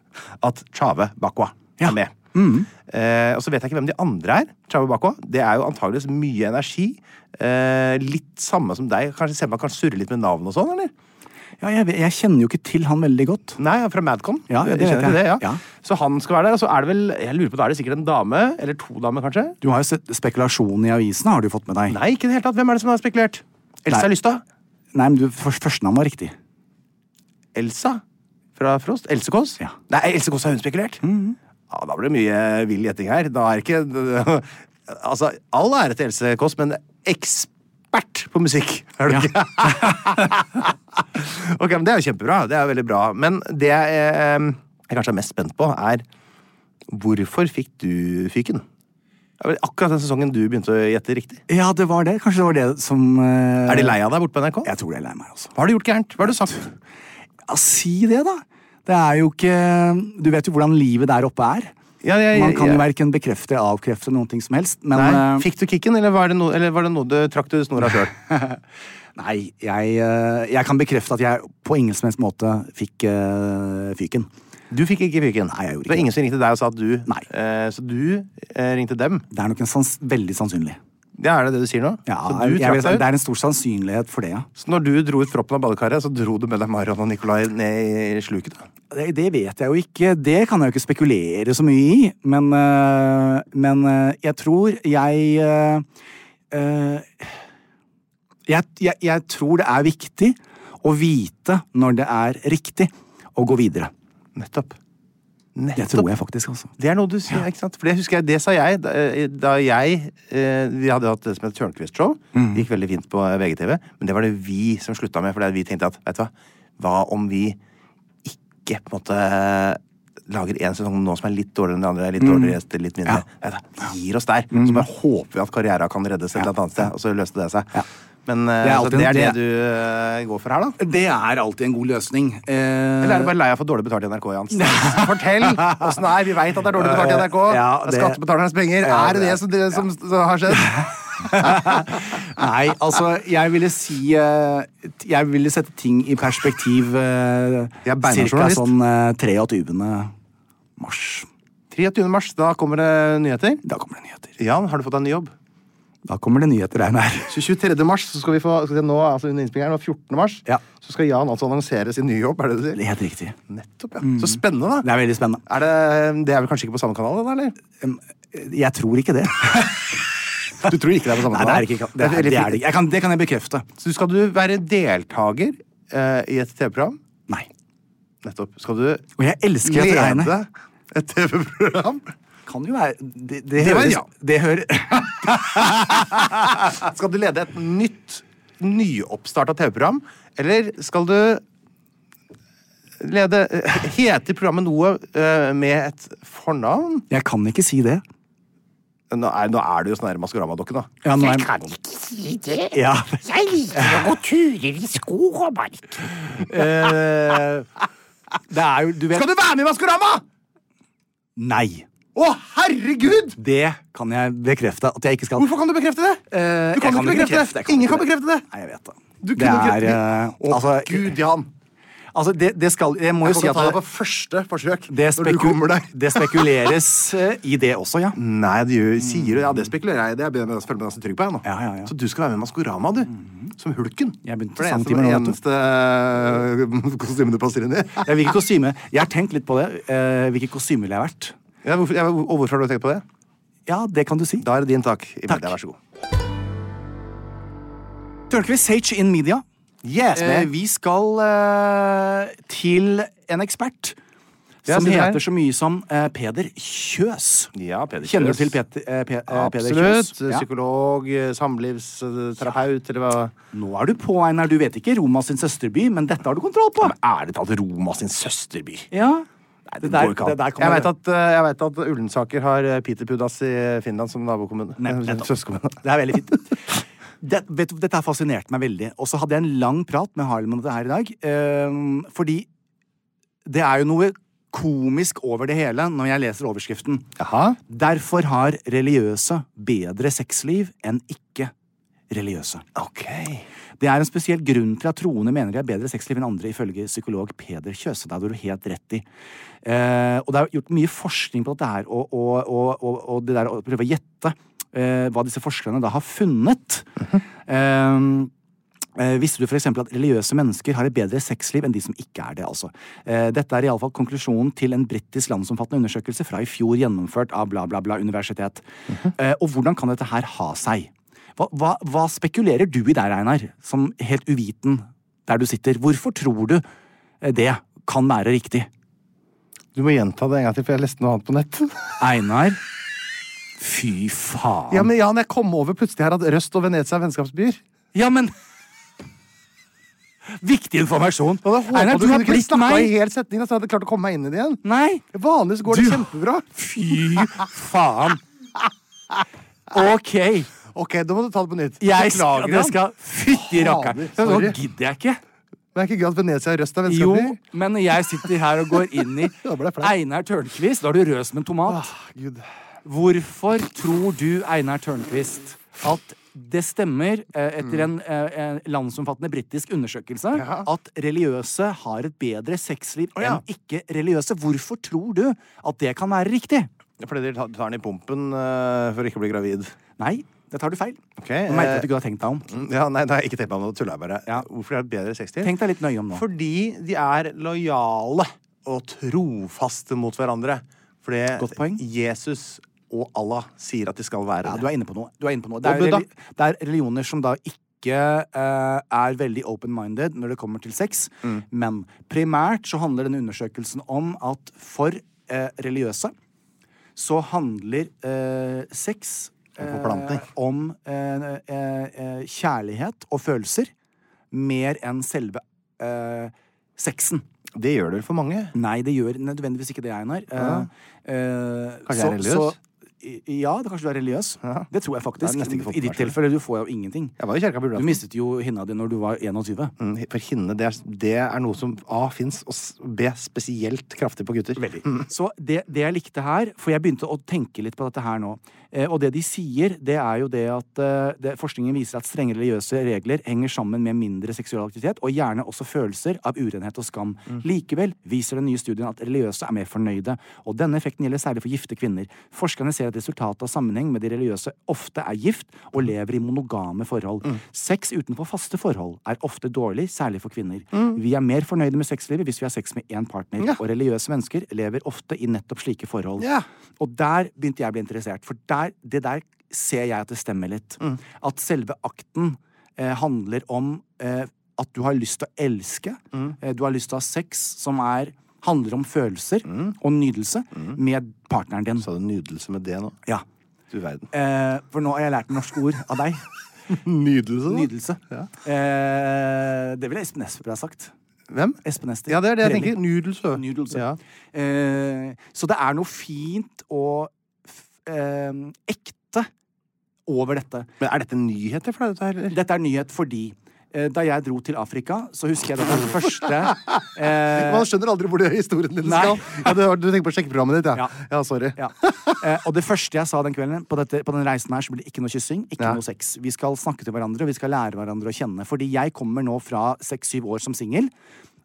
S2: at Chave Bakwa
S3: Ja.
S2: er med. Eh, og så vet jeg ikke hvem de andre er. Chave Bakwa. Det er jo antageligvis mye energi. Eh, litt samme som deg. Kanskje Selma kan surre litt med navn og sånn, eller?
S3: Ja, jeg, vet- jeg kjenner jo ikke til han veldig godt.
S2: Nei, han er fra Madcon.
S3: Ja,
S2: Du-
S3: det
S2: du
S3: vet
S2: kjenner til
S3: jeg.
S2: Det, ja.
S3: Ja.
S2: Så han skal være der. Og så er det vel jeg lurer på, da er det sikkert en dame, eller to damer kanskje?
S3: Du har jo sett spekulasjonen i avisene, har du fått med deg.
S2: Nei, ikke i det hele tatt. Hvem er det som har spekulert? Elsa
S3: Nei.
S2: Lystad?
S3: Nei, men du, først, førstenavn var riktig.
S2: Elsa fra Frost? Else Kåss?
S3: Ja. Mhm.
S2: Nei, Else Kåss har hun spekulert. Ja, da blir det mye vill gjetting her. Da er ikke Altså, all ære til Else Kåss, men ekspert på musikk, er du
S3: Ja.
S2: ikke? ok, men det er jo kjempebra. Det er jo veldig bra. Men det jeg, eh, jeg kanskje er mest spent på, er hvorfor fikk du fyken? Det var vel Akkurat den sesongen du begynte å gjette riktig.
S3: Ja, det var det. Kanskje det var det som eh,
S2: Er de lei av deg borte på NRK?
S3: Jeg tror de er lei meg, altså.
S2: Hva har du gjort gærent? Hva har du sagt?
S3: Ja, si det, da. Det er jo ikke Du vet jo hvordan livet der oppe er.
S2: Ja, jeg-
S3: Man kan
S2: jeg-
S3: jo verken bekrefte eller avkrefte noen ting som helst, men
S2: Nei,
S3: eh,
S2: Fikk du kicken, eller var det, no, eller var det noe du trakk du snora sjøl?
S3: nei jeg, eh, jeg kan bekrefte at jeg på ingen som helst måte fikk eh, fyken.
S2: Du fikk ikke fyken?
S3: Nei, jeg gjorde
S2: Det var
S3: ikke
S2: ingen som ringte deg og sa at du
S3: Nei.
S2: Eh, Så du eh, ringte dem?
S3: Det er nok en sans veldig sannsynlig.
S2: Ja, er det det du sier nå?
S3: Ja,
S2: så du
S3: jeg, vil
S2: trakk
S3: si-
S2: deg
S3: det
S2: ut?
S3: er en stor sannsynlighet for det, ja.
S2: Så når du dro ut proppen av badekaret, så dro du med deg Marion og Nicolai ned i sluket? da?
S3: Det, det vet jeg jo ikke. Det kan jeg jo ikke spekulere så mye i. Men, øh, men øh, jeg tror jeg eh, øh, øh, jeg, jeg, jeg tror det er viktig å vite når det er riktig, og gå videre.
S2: Nettopp.
S3: Det tror jeg faktisk, altså.
S2: Det er noe du sier, ikke sant? For det husker jeg, det sa jeg da, da jeg eh, Vi hadde hatt det som het Tørnquist-show.
S3: Mm.
S2: Det Gikk veldig fint på VGTV. Men det var det vi som slutta med, for vi tenkte at vet du hva, hva om vi ikke på en måte eh, lager én sesong nå som er litt dårligere enn de andre,
S3: Mm.
S2: litt dårligere gjester, litt mindre. Vet du, hva, gir oss der. Så bare håper vi at karriera kan reddes et eller annet sted, og så løste det seg. Men eh,
S3: Det er
S2: så
S3: alltid
S2: det
S3: en-
S2: er det
S3: det-
S2: du eh, går for her, da?
S3: Det er alltid en god løsning. Eh,
S2: Eller er du bare lei av å få dårlig betalt i NRK, Jans? Fortell åssen det er. Vi veit at det er dårlig betalt i NRK. Eh,
S3: Ja,
S2: det...
S3: det-
S2: er Skattebetalernes penger.
S3: Ja,
S2: er det
S3: det-
S2: det som, det, som som har skjedd?
S3: Nei, altså, jeg ville si eh, Jeg ville sette ting i perspektiv uh,
S2: Jeg er beinhard
S3: cirka
S2: journalist.
S3: sånn eh, 23. mars.
S2: 23. mars, da kommer det nyheter.
S3: Da kommer det nyheter.
S2: Jan, har du fått deg en ny jobb?
S3: Da kommer det nyheter, Einar.
S2: Så 23. mars så skal vi få skal vi se, nå, altså under innspillingen, og 14. mars
S3: Ja.
S2: så skal Jan altså annonsere sin nye jobb. er Mm. det du sier?
S3: Det er Helt riktig.
S2: Nettopp, ja. Så spennende,
S3: Det
S2: da.
S3: er veldig spennende.
S2: Er det, det er vel kanskje ikke på samme kanal, da? eller?
S3: Jeg tror ikke det.
S2: Du tror ikke det er på samme
S3: Nei, det er ikke, det, er, det, er det, ikke. jeg kan, det kan jeg bekrefte.
S2: Så skal du være deltaker eh, i et TV-program.
S3: Nei.
S2: Nettopp. Skal du
S3: Og jeg elsker at regnet
S2: lede et TV-program?
S3: kan jo være Det, det,
S2: Det var
S3: høres,
S2: ja.
S3: det hører
S2: Skal du lede et nytt, nyoppstarta TV-program, eller skal du lede Heter programmet noe eh, med et fornavn?
S3: Jeg kan ikke si det.
S2: Nå er, nå er det jo sånn der Maskorama-dokke, da.
S3: Ja, nå er-
S7: ikke si det.
S3: Ja.
S7: Jeg liker å gå turer i skog og mark.
S3: Eh, Det er jo Du vet
S2: Skal du være med i Maskorama?!
S3: Nei.
S2: Å, herregud!
S3: Det kan jeg bekrefte at jeg ikke skal.
S2: Hvorfor kan du bekrefte det?
S3: Eh,
S2: Du kan
S3: jeg
S2: jo ikke bekrefte det.
S3: jeg
S2: Ingen
S3: ikke
S2: kan bekrefte det.
S3: Nei, jeg vet det.
S2: Du
S3: det
S2: kunne ikke-
S3: er eh,
S2: Å,
S3: altså,
S2: gud, Jan.
S3: altså det, det skal Jeg må
S2: Jeg
S3: jo si
S2: kan
S3: at
S2: ta deg
S3: det,
S2: på første forsøk.
S3: det,
S2: når du
S3: speku-
S2: kommer deg.
S3: det spekuleres eh, i det også, ja.
S2: Nei, det gjør, sier du. Ja, det spekulerer jeg i. Det føler jeg meg føler meg ganske trygg på. jeg nå.
S3: Ja, ja, ja.
S2: Så du skal være med i Maskorama, du. Som Hulken.
S3: Jeg begynte
S2: For det
S3: samtidig med
S2: er eneste, eneste kostymet du passer inn i.
S3: Ja, Hvilket kostyme Jeg har tenkt litt på det. eh, Hvilket kostyme ville jeg vært?
S2: Ja, hvorfor, ja, og hvorfor har du tenkt på det?
S3: Ja, det kan du si.
S2: Da er det din tak. i
S3: Takk.
S2: media, Vær så god.
S3: Tørnquist Sage in media.
S2: Yes,
S3: Eh,
S2: man.
S3: vi skal eh, til en ekspert
S2: Ja,
S3: som
S2: sitter her.
S3: heter så mye som eh, Peder Kjøs.
S2: Ja, Peder
S3: Kjenner
S2: Kjøs.
S3: du til Pet, eh, Pe, eh, Peder Kjøs?
S2: Absolutt. Psykolog, eh, samlivsterapeut, eller hva?
S3: Nå er du på, Einar. Du vet ikke Roma sin søsterby, men dette har du kontroll på.
S2: Ærlig talt Roma sin søsterby.
S3: Ja. Nei, det, der,
S2: går ikke an.
S3: det der
S2: jeg
S3: kommer
S2: vet at, eh, jeg vet at Ullensaker har eh, Peter Pudas i Finland som nabokommune.
S3: Nei, nettopp.
S2: Søskenkommune.
S3: Det er veldig fint. Det, vet, du, dette her fascinerte meg veldig. Og så hadde jeg en lang prat med Harlem om dette her i dag. eh, fordi det er jo noe komisk over det hele når jeg leser overskriften.
S2: Jaha.
S3: Derfor har religiøse bedre sexliv enn ikke-religiøse.
S2: Ok.
S3: Det er en spesiell grunn til at troende mener de har bedre sexliv enn andre, ifølge psykolog Peder Kjøse. Det hadde du helt rett i. Eh, og det er gjort mye forskning på dette her, og, og, og, og, og det der å prøve å gjette eh, hva disse forskerne da har funnet. Eh, eh, visste du for eksempel at religiøse mennesker har et bedre sexliv enn de som ikke er det? altså? Eh, dette er iallfall konklusjonen til en britisk landsomfattende undersøkelse fra i fjor gjennomført av bla, bla, bla universitet. eh, og hvordan kan dette her ha seg? Hva, hva, hva spekulerer du i der, Einar, som helt uviten der du sitter? Hvorfor tror du eh, det kan være riktig?
S2: Du må gjenta det en gang til, for jeg leste noe annet på nett.
S3: Einar Fy faen.
S2: Ja, men Jan, jeg kom over plutselig her at Røst og Venezia er vennskapsbyer.
S3: Ja, men- Viktig informasjon.
S2: Da hadde jeg håpet
S3: Einar, du
S2: kunne
S3: har
S2: kunne
S3: blitt
S2: snakke i
S3: meg.
S2: hel setning, så jeg hadde klart å komme meg inn i det igjen.
S3: Nei.
S2: Vanligvis går det
S3: Du-
S2: kjempebra.
S3: Fy faen. Ok.
S2: Ok, da må du ta det på nytt.
S3: Jeg
S2: Beklager,
S3: skal, det
S2: Jan.
S3: skal Fytti rakkeren.
S2: Fader,
S3: Nå
S2: sorry.
S3: gidder jeg ikke.
S2: Men er ikke gøy at Venezia og Røst er
S3: Jo,
S2: vennskapsbyer?
S3: men jeg sitter her og går inn i
S2: Da ble jeg flau.
S3: Einar Tørnquist. Da er du rød som en tomat.
S2: Gud.
S3: Hvorfor tror du, Einar Tørnquist, at det stemmer eh,
S2: Mm.
S3: etter en eh, en landsomfattende britisk undersøkelse at religiøse har et bedre sexliv
S2: ja.
S3: enn ikke-religiøse? Hvorfor tror du at det kan være riktig?
S2: Fordi dere tar- tar den i pumpen eh, for å ikke bli gravid.
S3: Nei, det tar du feil.
S2: Ok,
S3: Jeg merker
S2: eh,
S3: at du ikke har tenkt deg om.
S2: Mm, Ja, nei, nei, ikke tenk på det, nå tuller jeg bare.
S3: Ja.
S2: Hvorfor er det bedre sextid?
S3: Tenk deg litt nøye om nå.
S2: Fordi de er lojale og trofaste mot hverandre. Fordi
S3: Godt poeng.
S2: Jesus og Allah sier at de skal være
S3: Ja,
S2: det.
S3: du er inne på noe. Du er inne på noe. Det,
S2: Og
S3: er
S2: Buddha?
S3: reli- det er religioner som da ikke ikke eh, er veldig open-minded når det kommer til sex.
S8: Mm.
S3: Men primært så handler denne undersøkelsen om at for eh, religiøse så handler eh, sex eh,
S8: forplantning.
S3: om eh, eh, eh, kjærlighet og følelser mer enn selve eh, sexen.
S8: Det gjør det vel for mange.
S3: Nei, det gjør nødvendigvis ikke det, Einar. Eh, eh,
S8: Kanskje jeg er religiøs?
S3: i- ja, det, kanskje du er religiøs. Det tror jeg
S8: Det
S3: faktisk.
S8: har jeg nesten ikke fått
S3: I ditt
S8: med meg.
S3: tilfelle, du får jo ingenting.
S8: Jeg var i kirka på
S3: Du
S8: julaften.
S3: mistet jo hinna di når du var 21.
S8: Mm, For hinne, det er, det er noe som A fins, og s- B spesielt kraftig på gutter.
S3: Veldig. Så det, det jeg likte her, for jeg begynte å tenke litt på dette her nå, eh, og det de sier, det er jo det at eh, det, forskningen viser at strenge religiøse regler henger sammen med mindre seksuell aktivitet, og gjerne også følelser av urenhet og skam. Likevel viser den nye studien at religiøse er mer fornøyde, og denne effekten gjelder særlig for gifte kvinner. Forskerne ser at resultatet av sammenheng med de religiøse ofte er gift og lever i monogame forhold. Sex utenfor faste forhold er ofte dårlig, særlig for kvinner. Vi er mer fornøyde med sexlivet hvis vi har sex med én partner, og religiøse mennesker lever ofte i nettopp slike forhold.
S8: Ja.
S3: Og der begynte jeg å bli interessert, for der, det der ser jeg at det stemmer litt. At selve akten eh, handler om eh, at du har lyst til å elske, eh, du har lyst til å ha sex som er handler om følelser og nydelse med partneren din.
S8: Sa du nydelse med det nå?
S3: Ja.
S8: Du verden.
S3: Eh, for nå har jeg lært norske ord av deg.
S8: Nydelse, da?
S3: Nydelse. Eh, det ville Espen Esper ha sagt.
S8: Hvem?
S3: Espen Ester.
S8: Ja, det er det jeg
S3: Trelli.
S8: tenker. Nydelse.
S3: Nydelse.
S8: Ja.
S3: Eh, så det er noe fint og f eh, ekte over dette.
S8: Men er dette nyheter for deg, dette her? eller?
S3: Dette er nyhet fordi eh, da jeg dro til Afrika, så husker jeg det var den første eh,
S8: Man skjønner aldri hvor det er historien din
S3: Nei.
S8: skal. Ja, du, har- du tenker på sjekkeprogrammet ditt, ja?
S3: Ja.
S8: Ja, sorry.
S3: Ja. Eh, og det første jeg sa den kvelden, på, dette, på den reisen her, så blir det ikke noe kyssing, ikke
S8: Ja.
S3: noe sex. Vi skal snakke til hverandre, og vi skal lære hverandre å kjenne. Fordi jeg kommer nå fra seks-syv år som singel,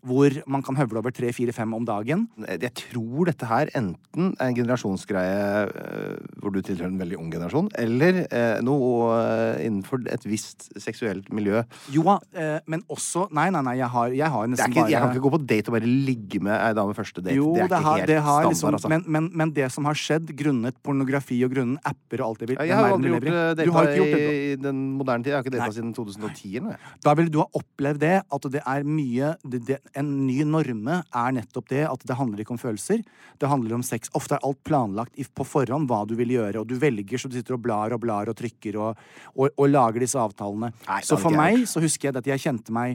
S3: hvor man kan høvle over tre-fire-fem om dagen.
S8: Jeg tror dette her enten er en generasjonsgreie eh, hvor du tilhører en veldig ung generasjon, eller eh, noe eh, innenfor et visst seksuelt miljø.
S3: Jo, eh, men også Nei, nei, nei, jeg har, jeg har
S8: Det er
S3: nesten
S8: ikke,
S3: bare
S8: jeg kan ikke gå på date og bare ligge med ei dame første date.
S3: Jo,
S8: det er ikke
S3: har,
S8: helt
S3: det har
S8: standard,
S3: liksom,
S8: altså.
S3: men, men, men det som har skjedd, grunnet pornografi og grunnen apper og alt det vil
S8: ja, jeg har jo aldri gjort
S3: lever i.
S8: eh,
S3: Du har
S8: data
S3: ikke gjort det.
S8: i, i den moderne tid. Jeg har ikke data siden 2010. Nei.
S3: Da ville du ha opplevd det, at det er mye det, det, En ny norme er nettopp det, at det handler ikke om følelser. Det handler om sex. Ofte er alt planlagt i, på forhånd hva du vil gjøre, og du velger så du sitter og blar og blar og trykker og, og, og lager disse avtalene.
S8: Nei, det
S3: så
S8: hadde
S3: for
S8: ikke jeg
S3: meg så husker jeg at jeg kjente meg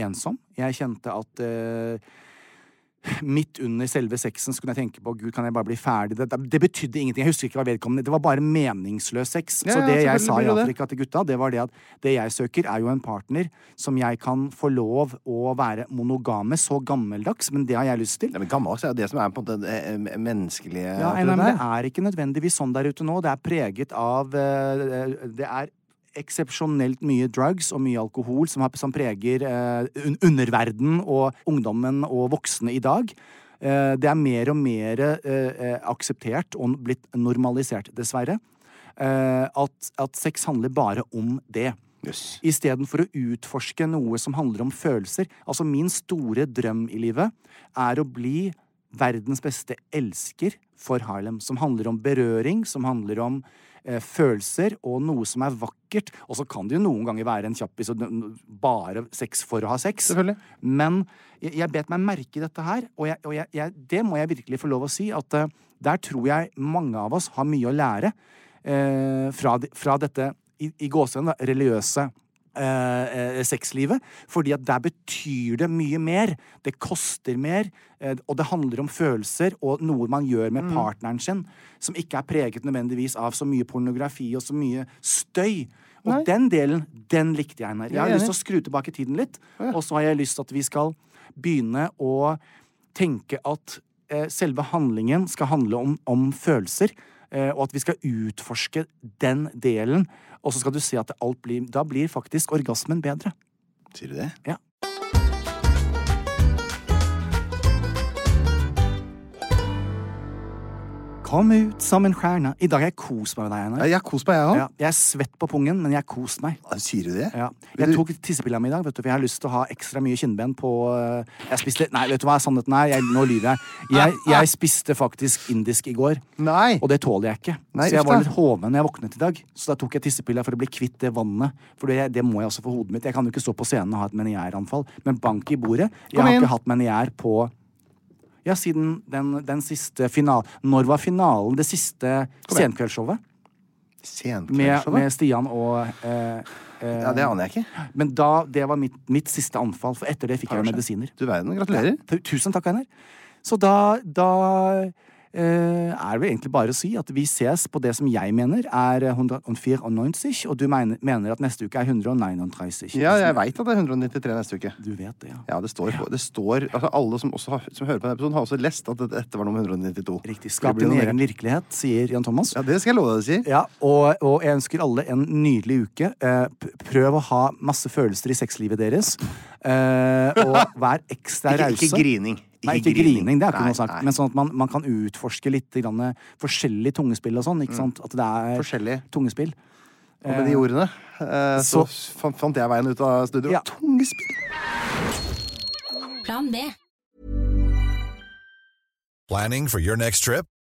S3: ensom. Jeg kjente at eh, midt under selve sexen så kunne jeg tenke på Gud, kan jeg bare bli ferdig? Det, det betydde ingenting. Jeg husker ikke hva vedkommende Det var bare meningsløs sex.
S8: Ja,
S3: så
S8: ja,
S3: det jeg
S8: selvfølgelig
S3: sa i
S8: blir det det.
S3: Afrika til gutta, det var det at det jeg søker, er jo en partner som jeg kan få lov å være monogame, så gammeldags, men det har jeg lyst til.
S8: Nei, men gammeldags er jo det som er på en måte det eh, menneskelige
S3: Ja,
S8: oppi
S3: nei,
S8: dette
S3: men
S8: her.
S3: det er ikke nødvendigvis sånn der ute nå. Det er preget av eh, Det er eksepsjonelt mye drugs og mye alkohol som, har, som preger eh, un underverden og ungdommen og voksne i dag. Eh, det er mer og mer eh, eh, akseptert og blitt normalisert, dessverre. eh, at, at sex handler bare om det.
S8: Jøss.
S3: Istedenfor å utforske noe som handler om følelser. Altså, min store drøm i livet er å bli verdens beste elsker for Harlem. Som handler om berøring, som handler om eh, følelser og noe som er vakkert. Og så kan det jo noen ganger være en kjappis og n- n- bare sex for å ha sex.
S8: Selvfølgelig.
S3: Men jeg, jeg bet meg merke i dette her, og, jeg, og jeg, jeg, det må jeg virkelig få lov å si, at eh, der tror jeg mange av oss har mye å lære eh, fra, de- fra dette, i, i gåsehudene, da, religiøse eh, eh, sexlivet. Fordi at der betyr det mye mer. Det koster mer, eh, og det handler om følelser og noe man gjør med partneren sin, som ikke er preget nødvendigvis av så mye pornografi og så mye støy. Og den delen, den likte jeg. Einar. Jeg har lyst til å skru tilbake tiden litt, og så har jeg lyst til at vi skal begynne å tenke at eh, selve handlingen skal handle om, om følelser, eh, og at vi skal utforske den delen. Og så skal du se at alt blir Da blir faktisk orgasmen bedre.
S8: Sier du det?
S3: Ja. Kom ut som en stjerne. I dag har jeg kost meg med deg, Einar.
S2: Jeg har kost meg, jeg òg.
S3: Ja, jeg er svett på pungen, men jeg har kost meg.
S2: Sier du det?
S3: Ja. Jeg tok tissepilla mi i dag, vet du, for jeg har lyst til å ha ekstra mye kinnben på øh, Jeg spiste Nei, vet du hva sannheten er? Jeg, nå lyver jeg. jeg. Jeg spiste faktisk indisk i går,
S2: Nei.
S3: og det tåler jeg ikke.
S2: Nei,
S3: så jeg
S2: uff
S3: var
S2: da.
S3: litt hoven når jeg våknet i dag, så da tok jeg tissepilla for å bli kvitt det vannet. For det, det må jeg også for hodet mitt. Jeg kan jo ikke stå på scenen og ha et meniæranfall, men bank i bordet. Jeg
S2: Kom
S3: har
S2: inn.
S3: ikke hatt meniær på ja, siden den, den siste finalen Når var finalen? Det siste senkveldsshowet? Med,
S2: Senkveldsshowet?
S3: med Stian og eh, eh,
S2: Ja, det aner jeg ikke.
S3: men da, det var mitt, mitt siste anfall, for etter det fikk jeg jo medisiner.
S2: Du verden. Gratulerer.
S3: Tu- Tusen takk, Einar. Så da, da eh, er det vel egentlig bare å si at vi ses på det som jeg mener er eh, 194, og du mener, mener at neste uke er 139.
S2: Ja, jeg veit at det er 193 neste uke.
S3: Du vet det, ja.
S2: Ja, det står, på- det står altså Alle som, også har, som hører på denne episoden, har også lest at dette var nummer 192.
S3: Riktig.
S2: Så det
S3: Skap
S2: blir
S3: din
S2: noe
S3: egen
S2: mer.
S3: virkelighet, sier Jan Thomas.
S2: Ja, det skal jeg love deg å si.
S3: Ja, og, og jeg ønsker alle en nydelig uke. Eh, p- Prøv å ha masse følelser i sexlivet deres. Eh, Og vær ekstra
S2: Ikke-
S3: rause.
S2: ikke grining. Ikke
S3: Nei, ikke
S2: grining.
S3: grining, det er ikke
S2: Nei,
S3: noe sagt.
S2: nei.
S3: Men sånn at man, man kan utforske litt grann, eh, forskjellig tungespill og sånn. Ikke sant? At det er
S2: Mm. Forskjellig.
S3: tungespill.
S2: Og med de ordene eh, så,
S3: så-
S2: fant, fant jeg veien ut av studio.
S3: Ja.
S2: Tungespill!
S1: Plan B.
S9: Planning for your next trip?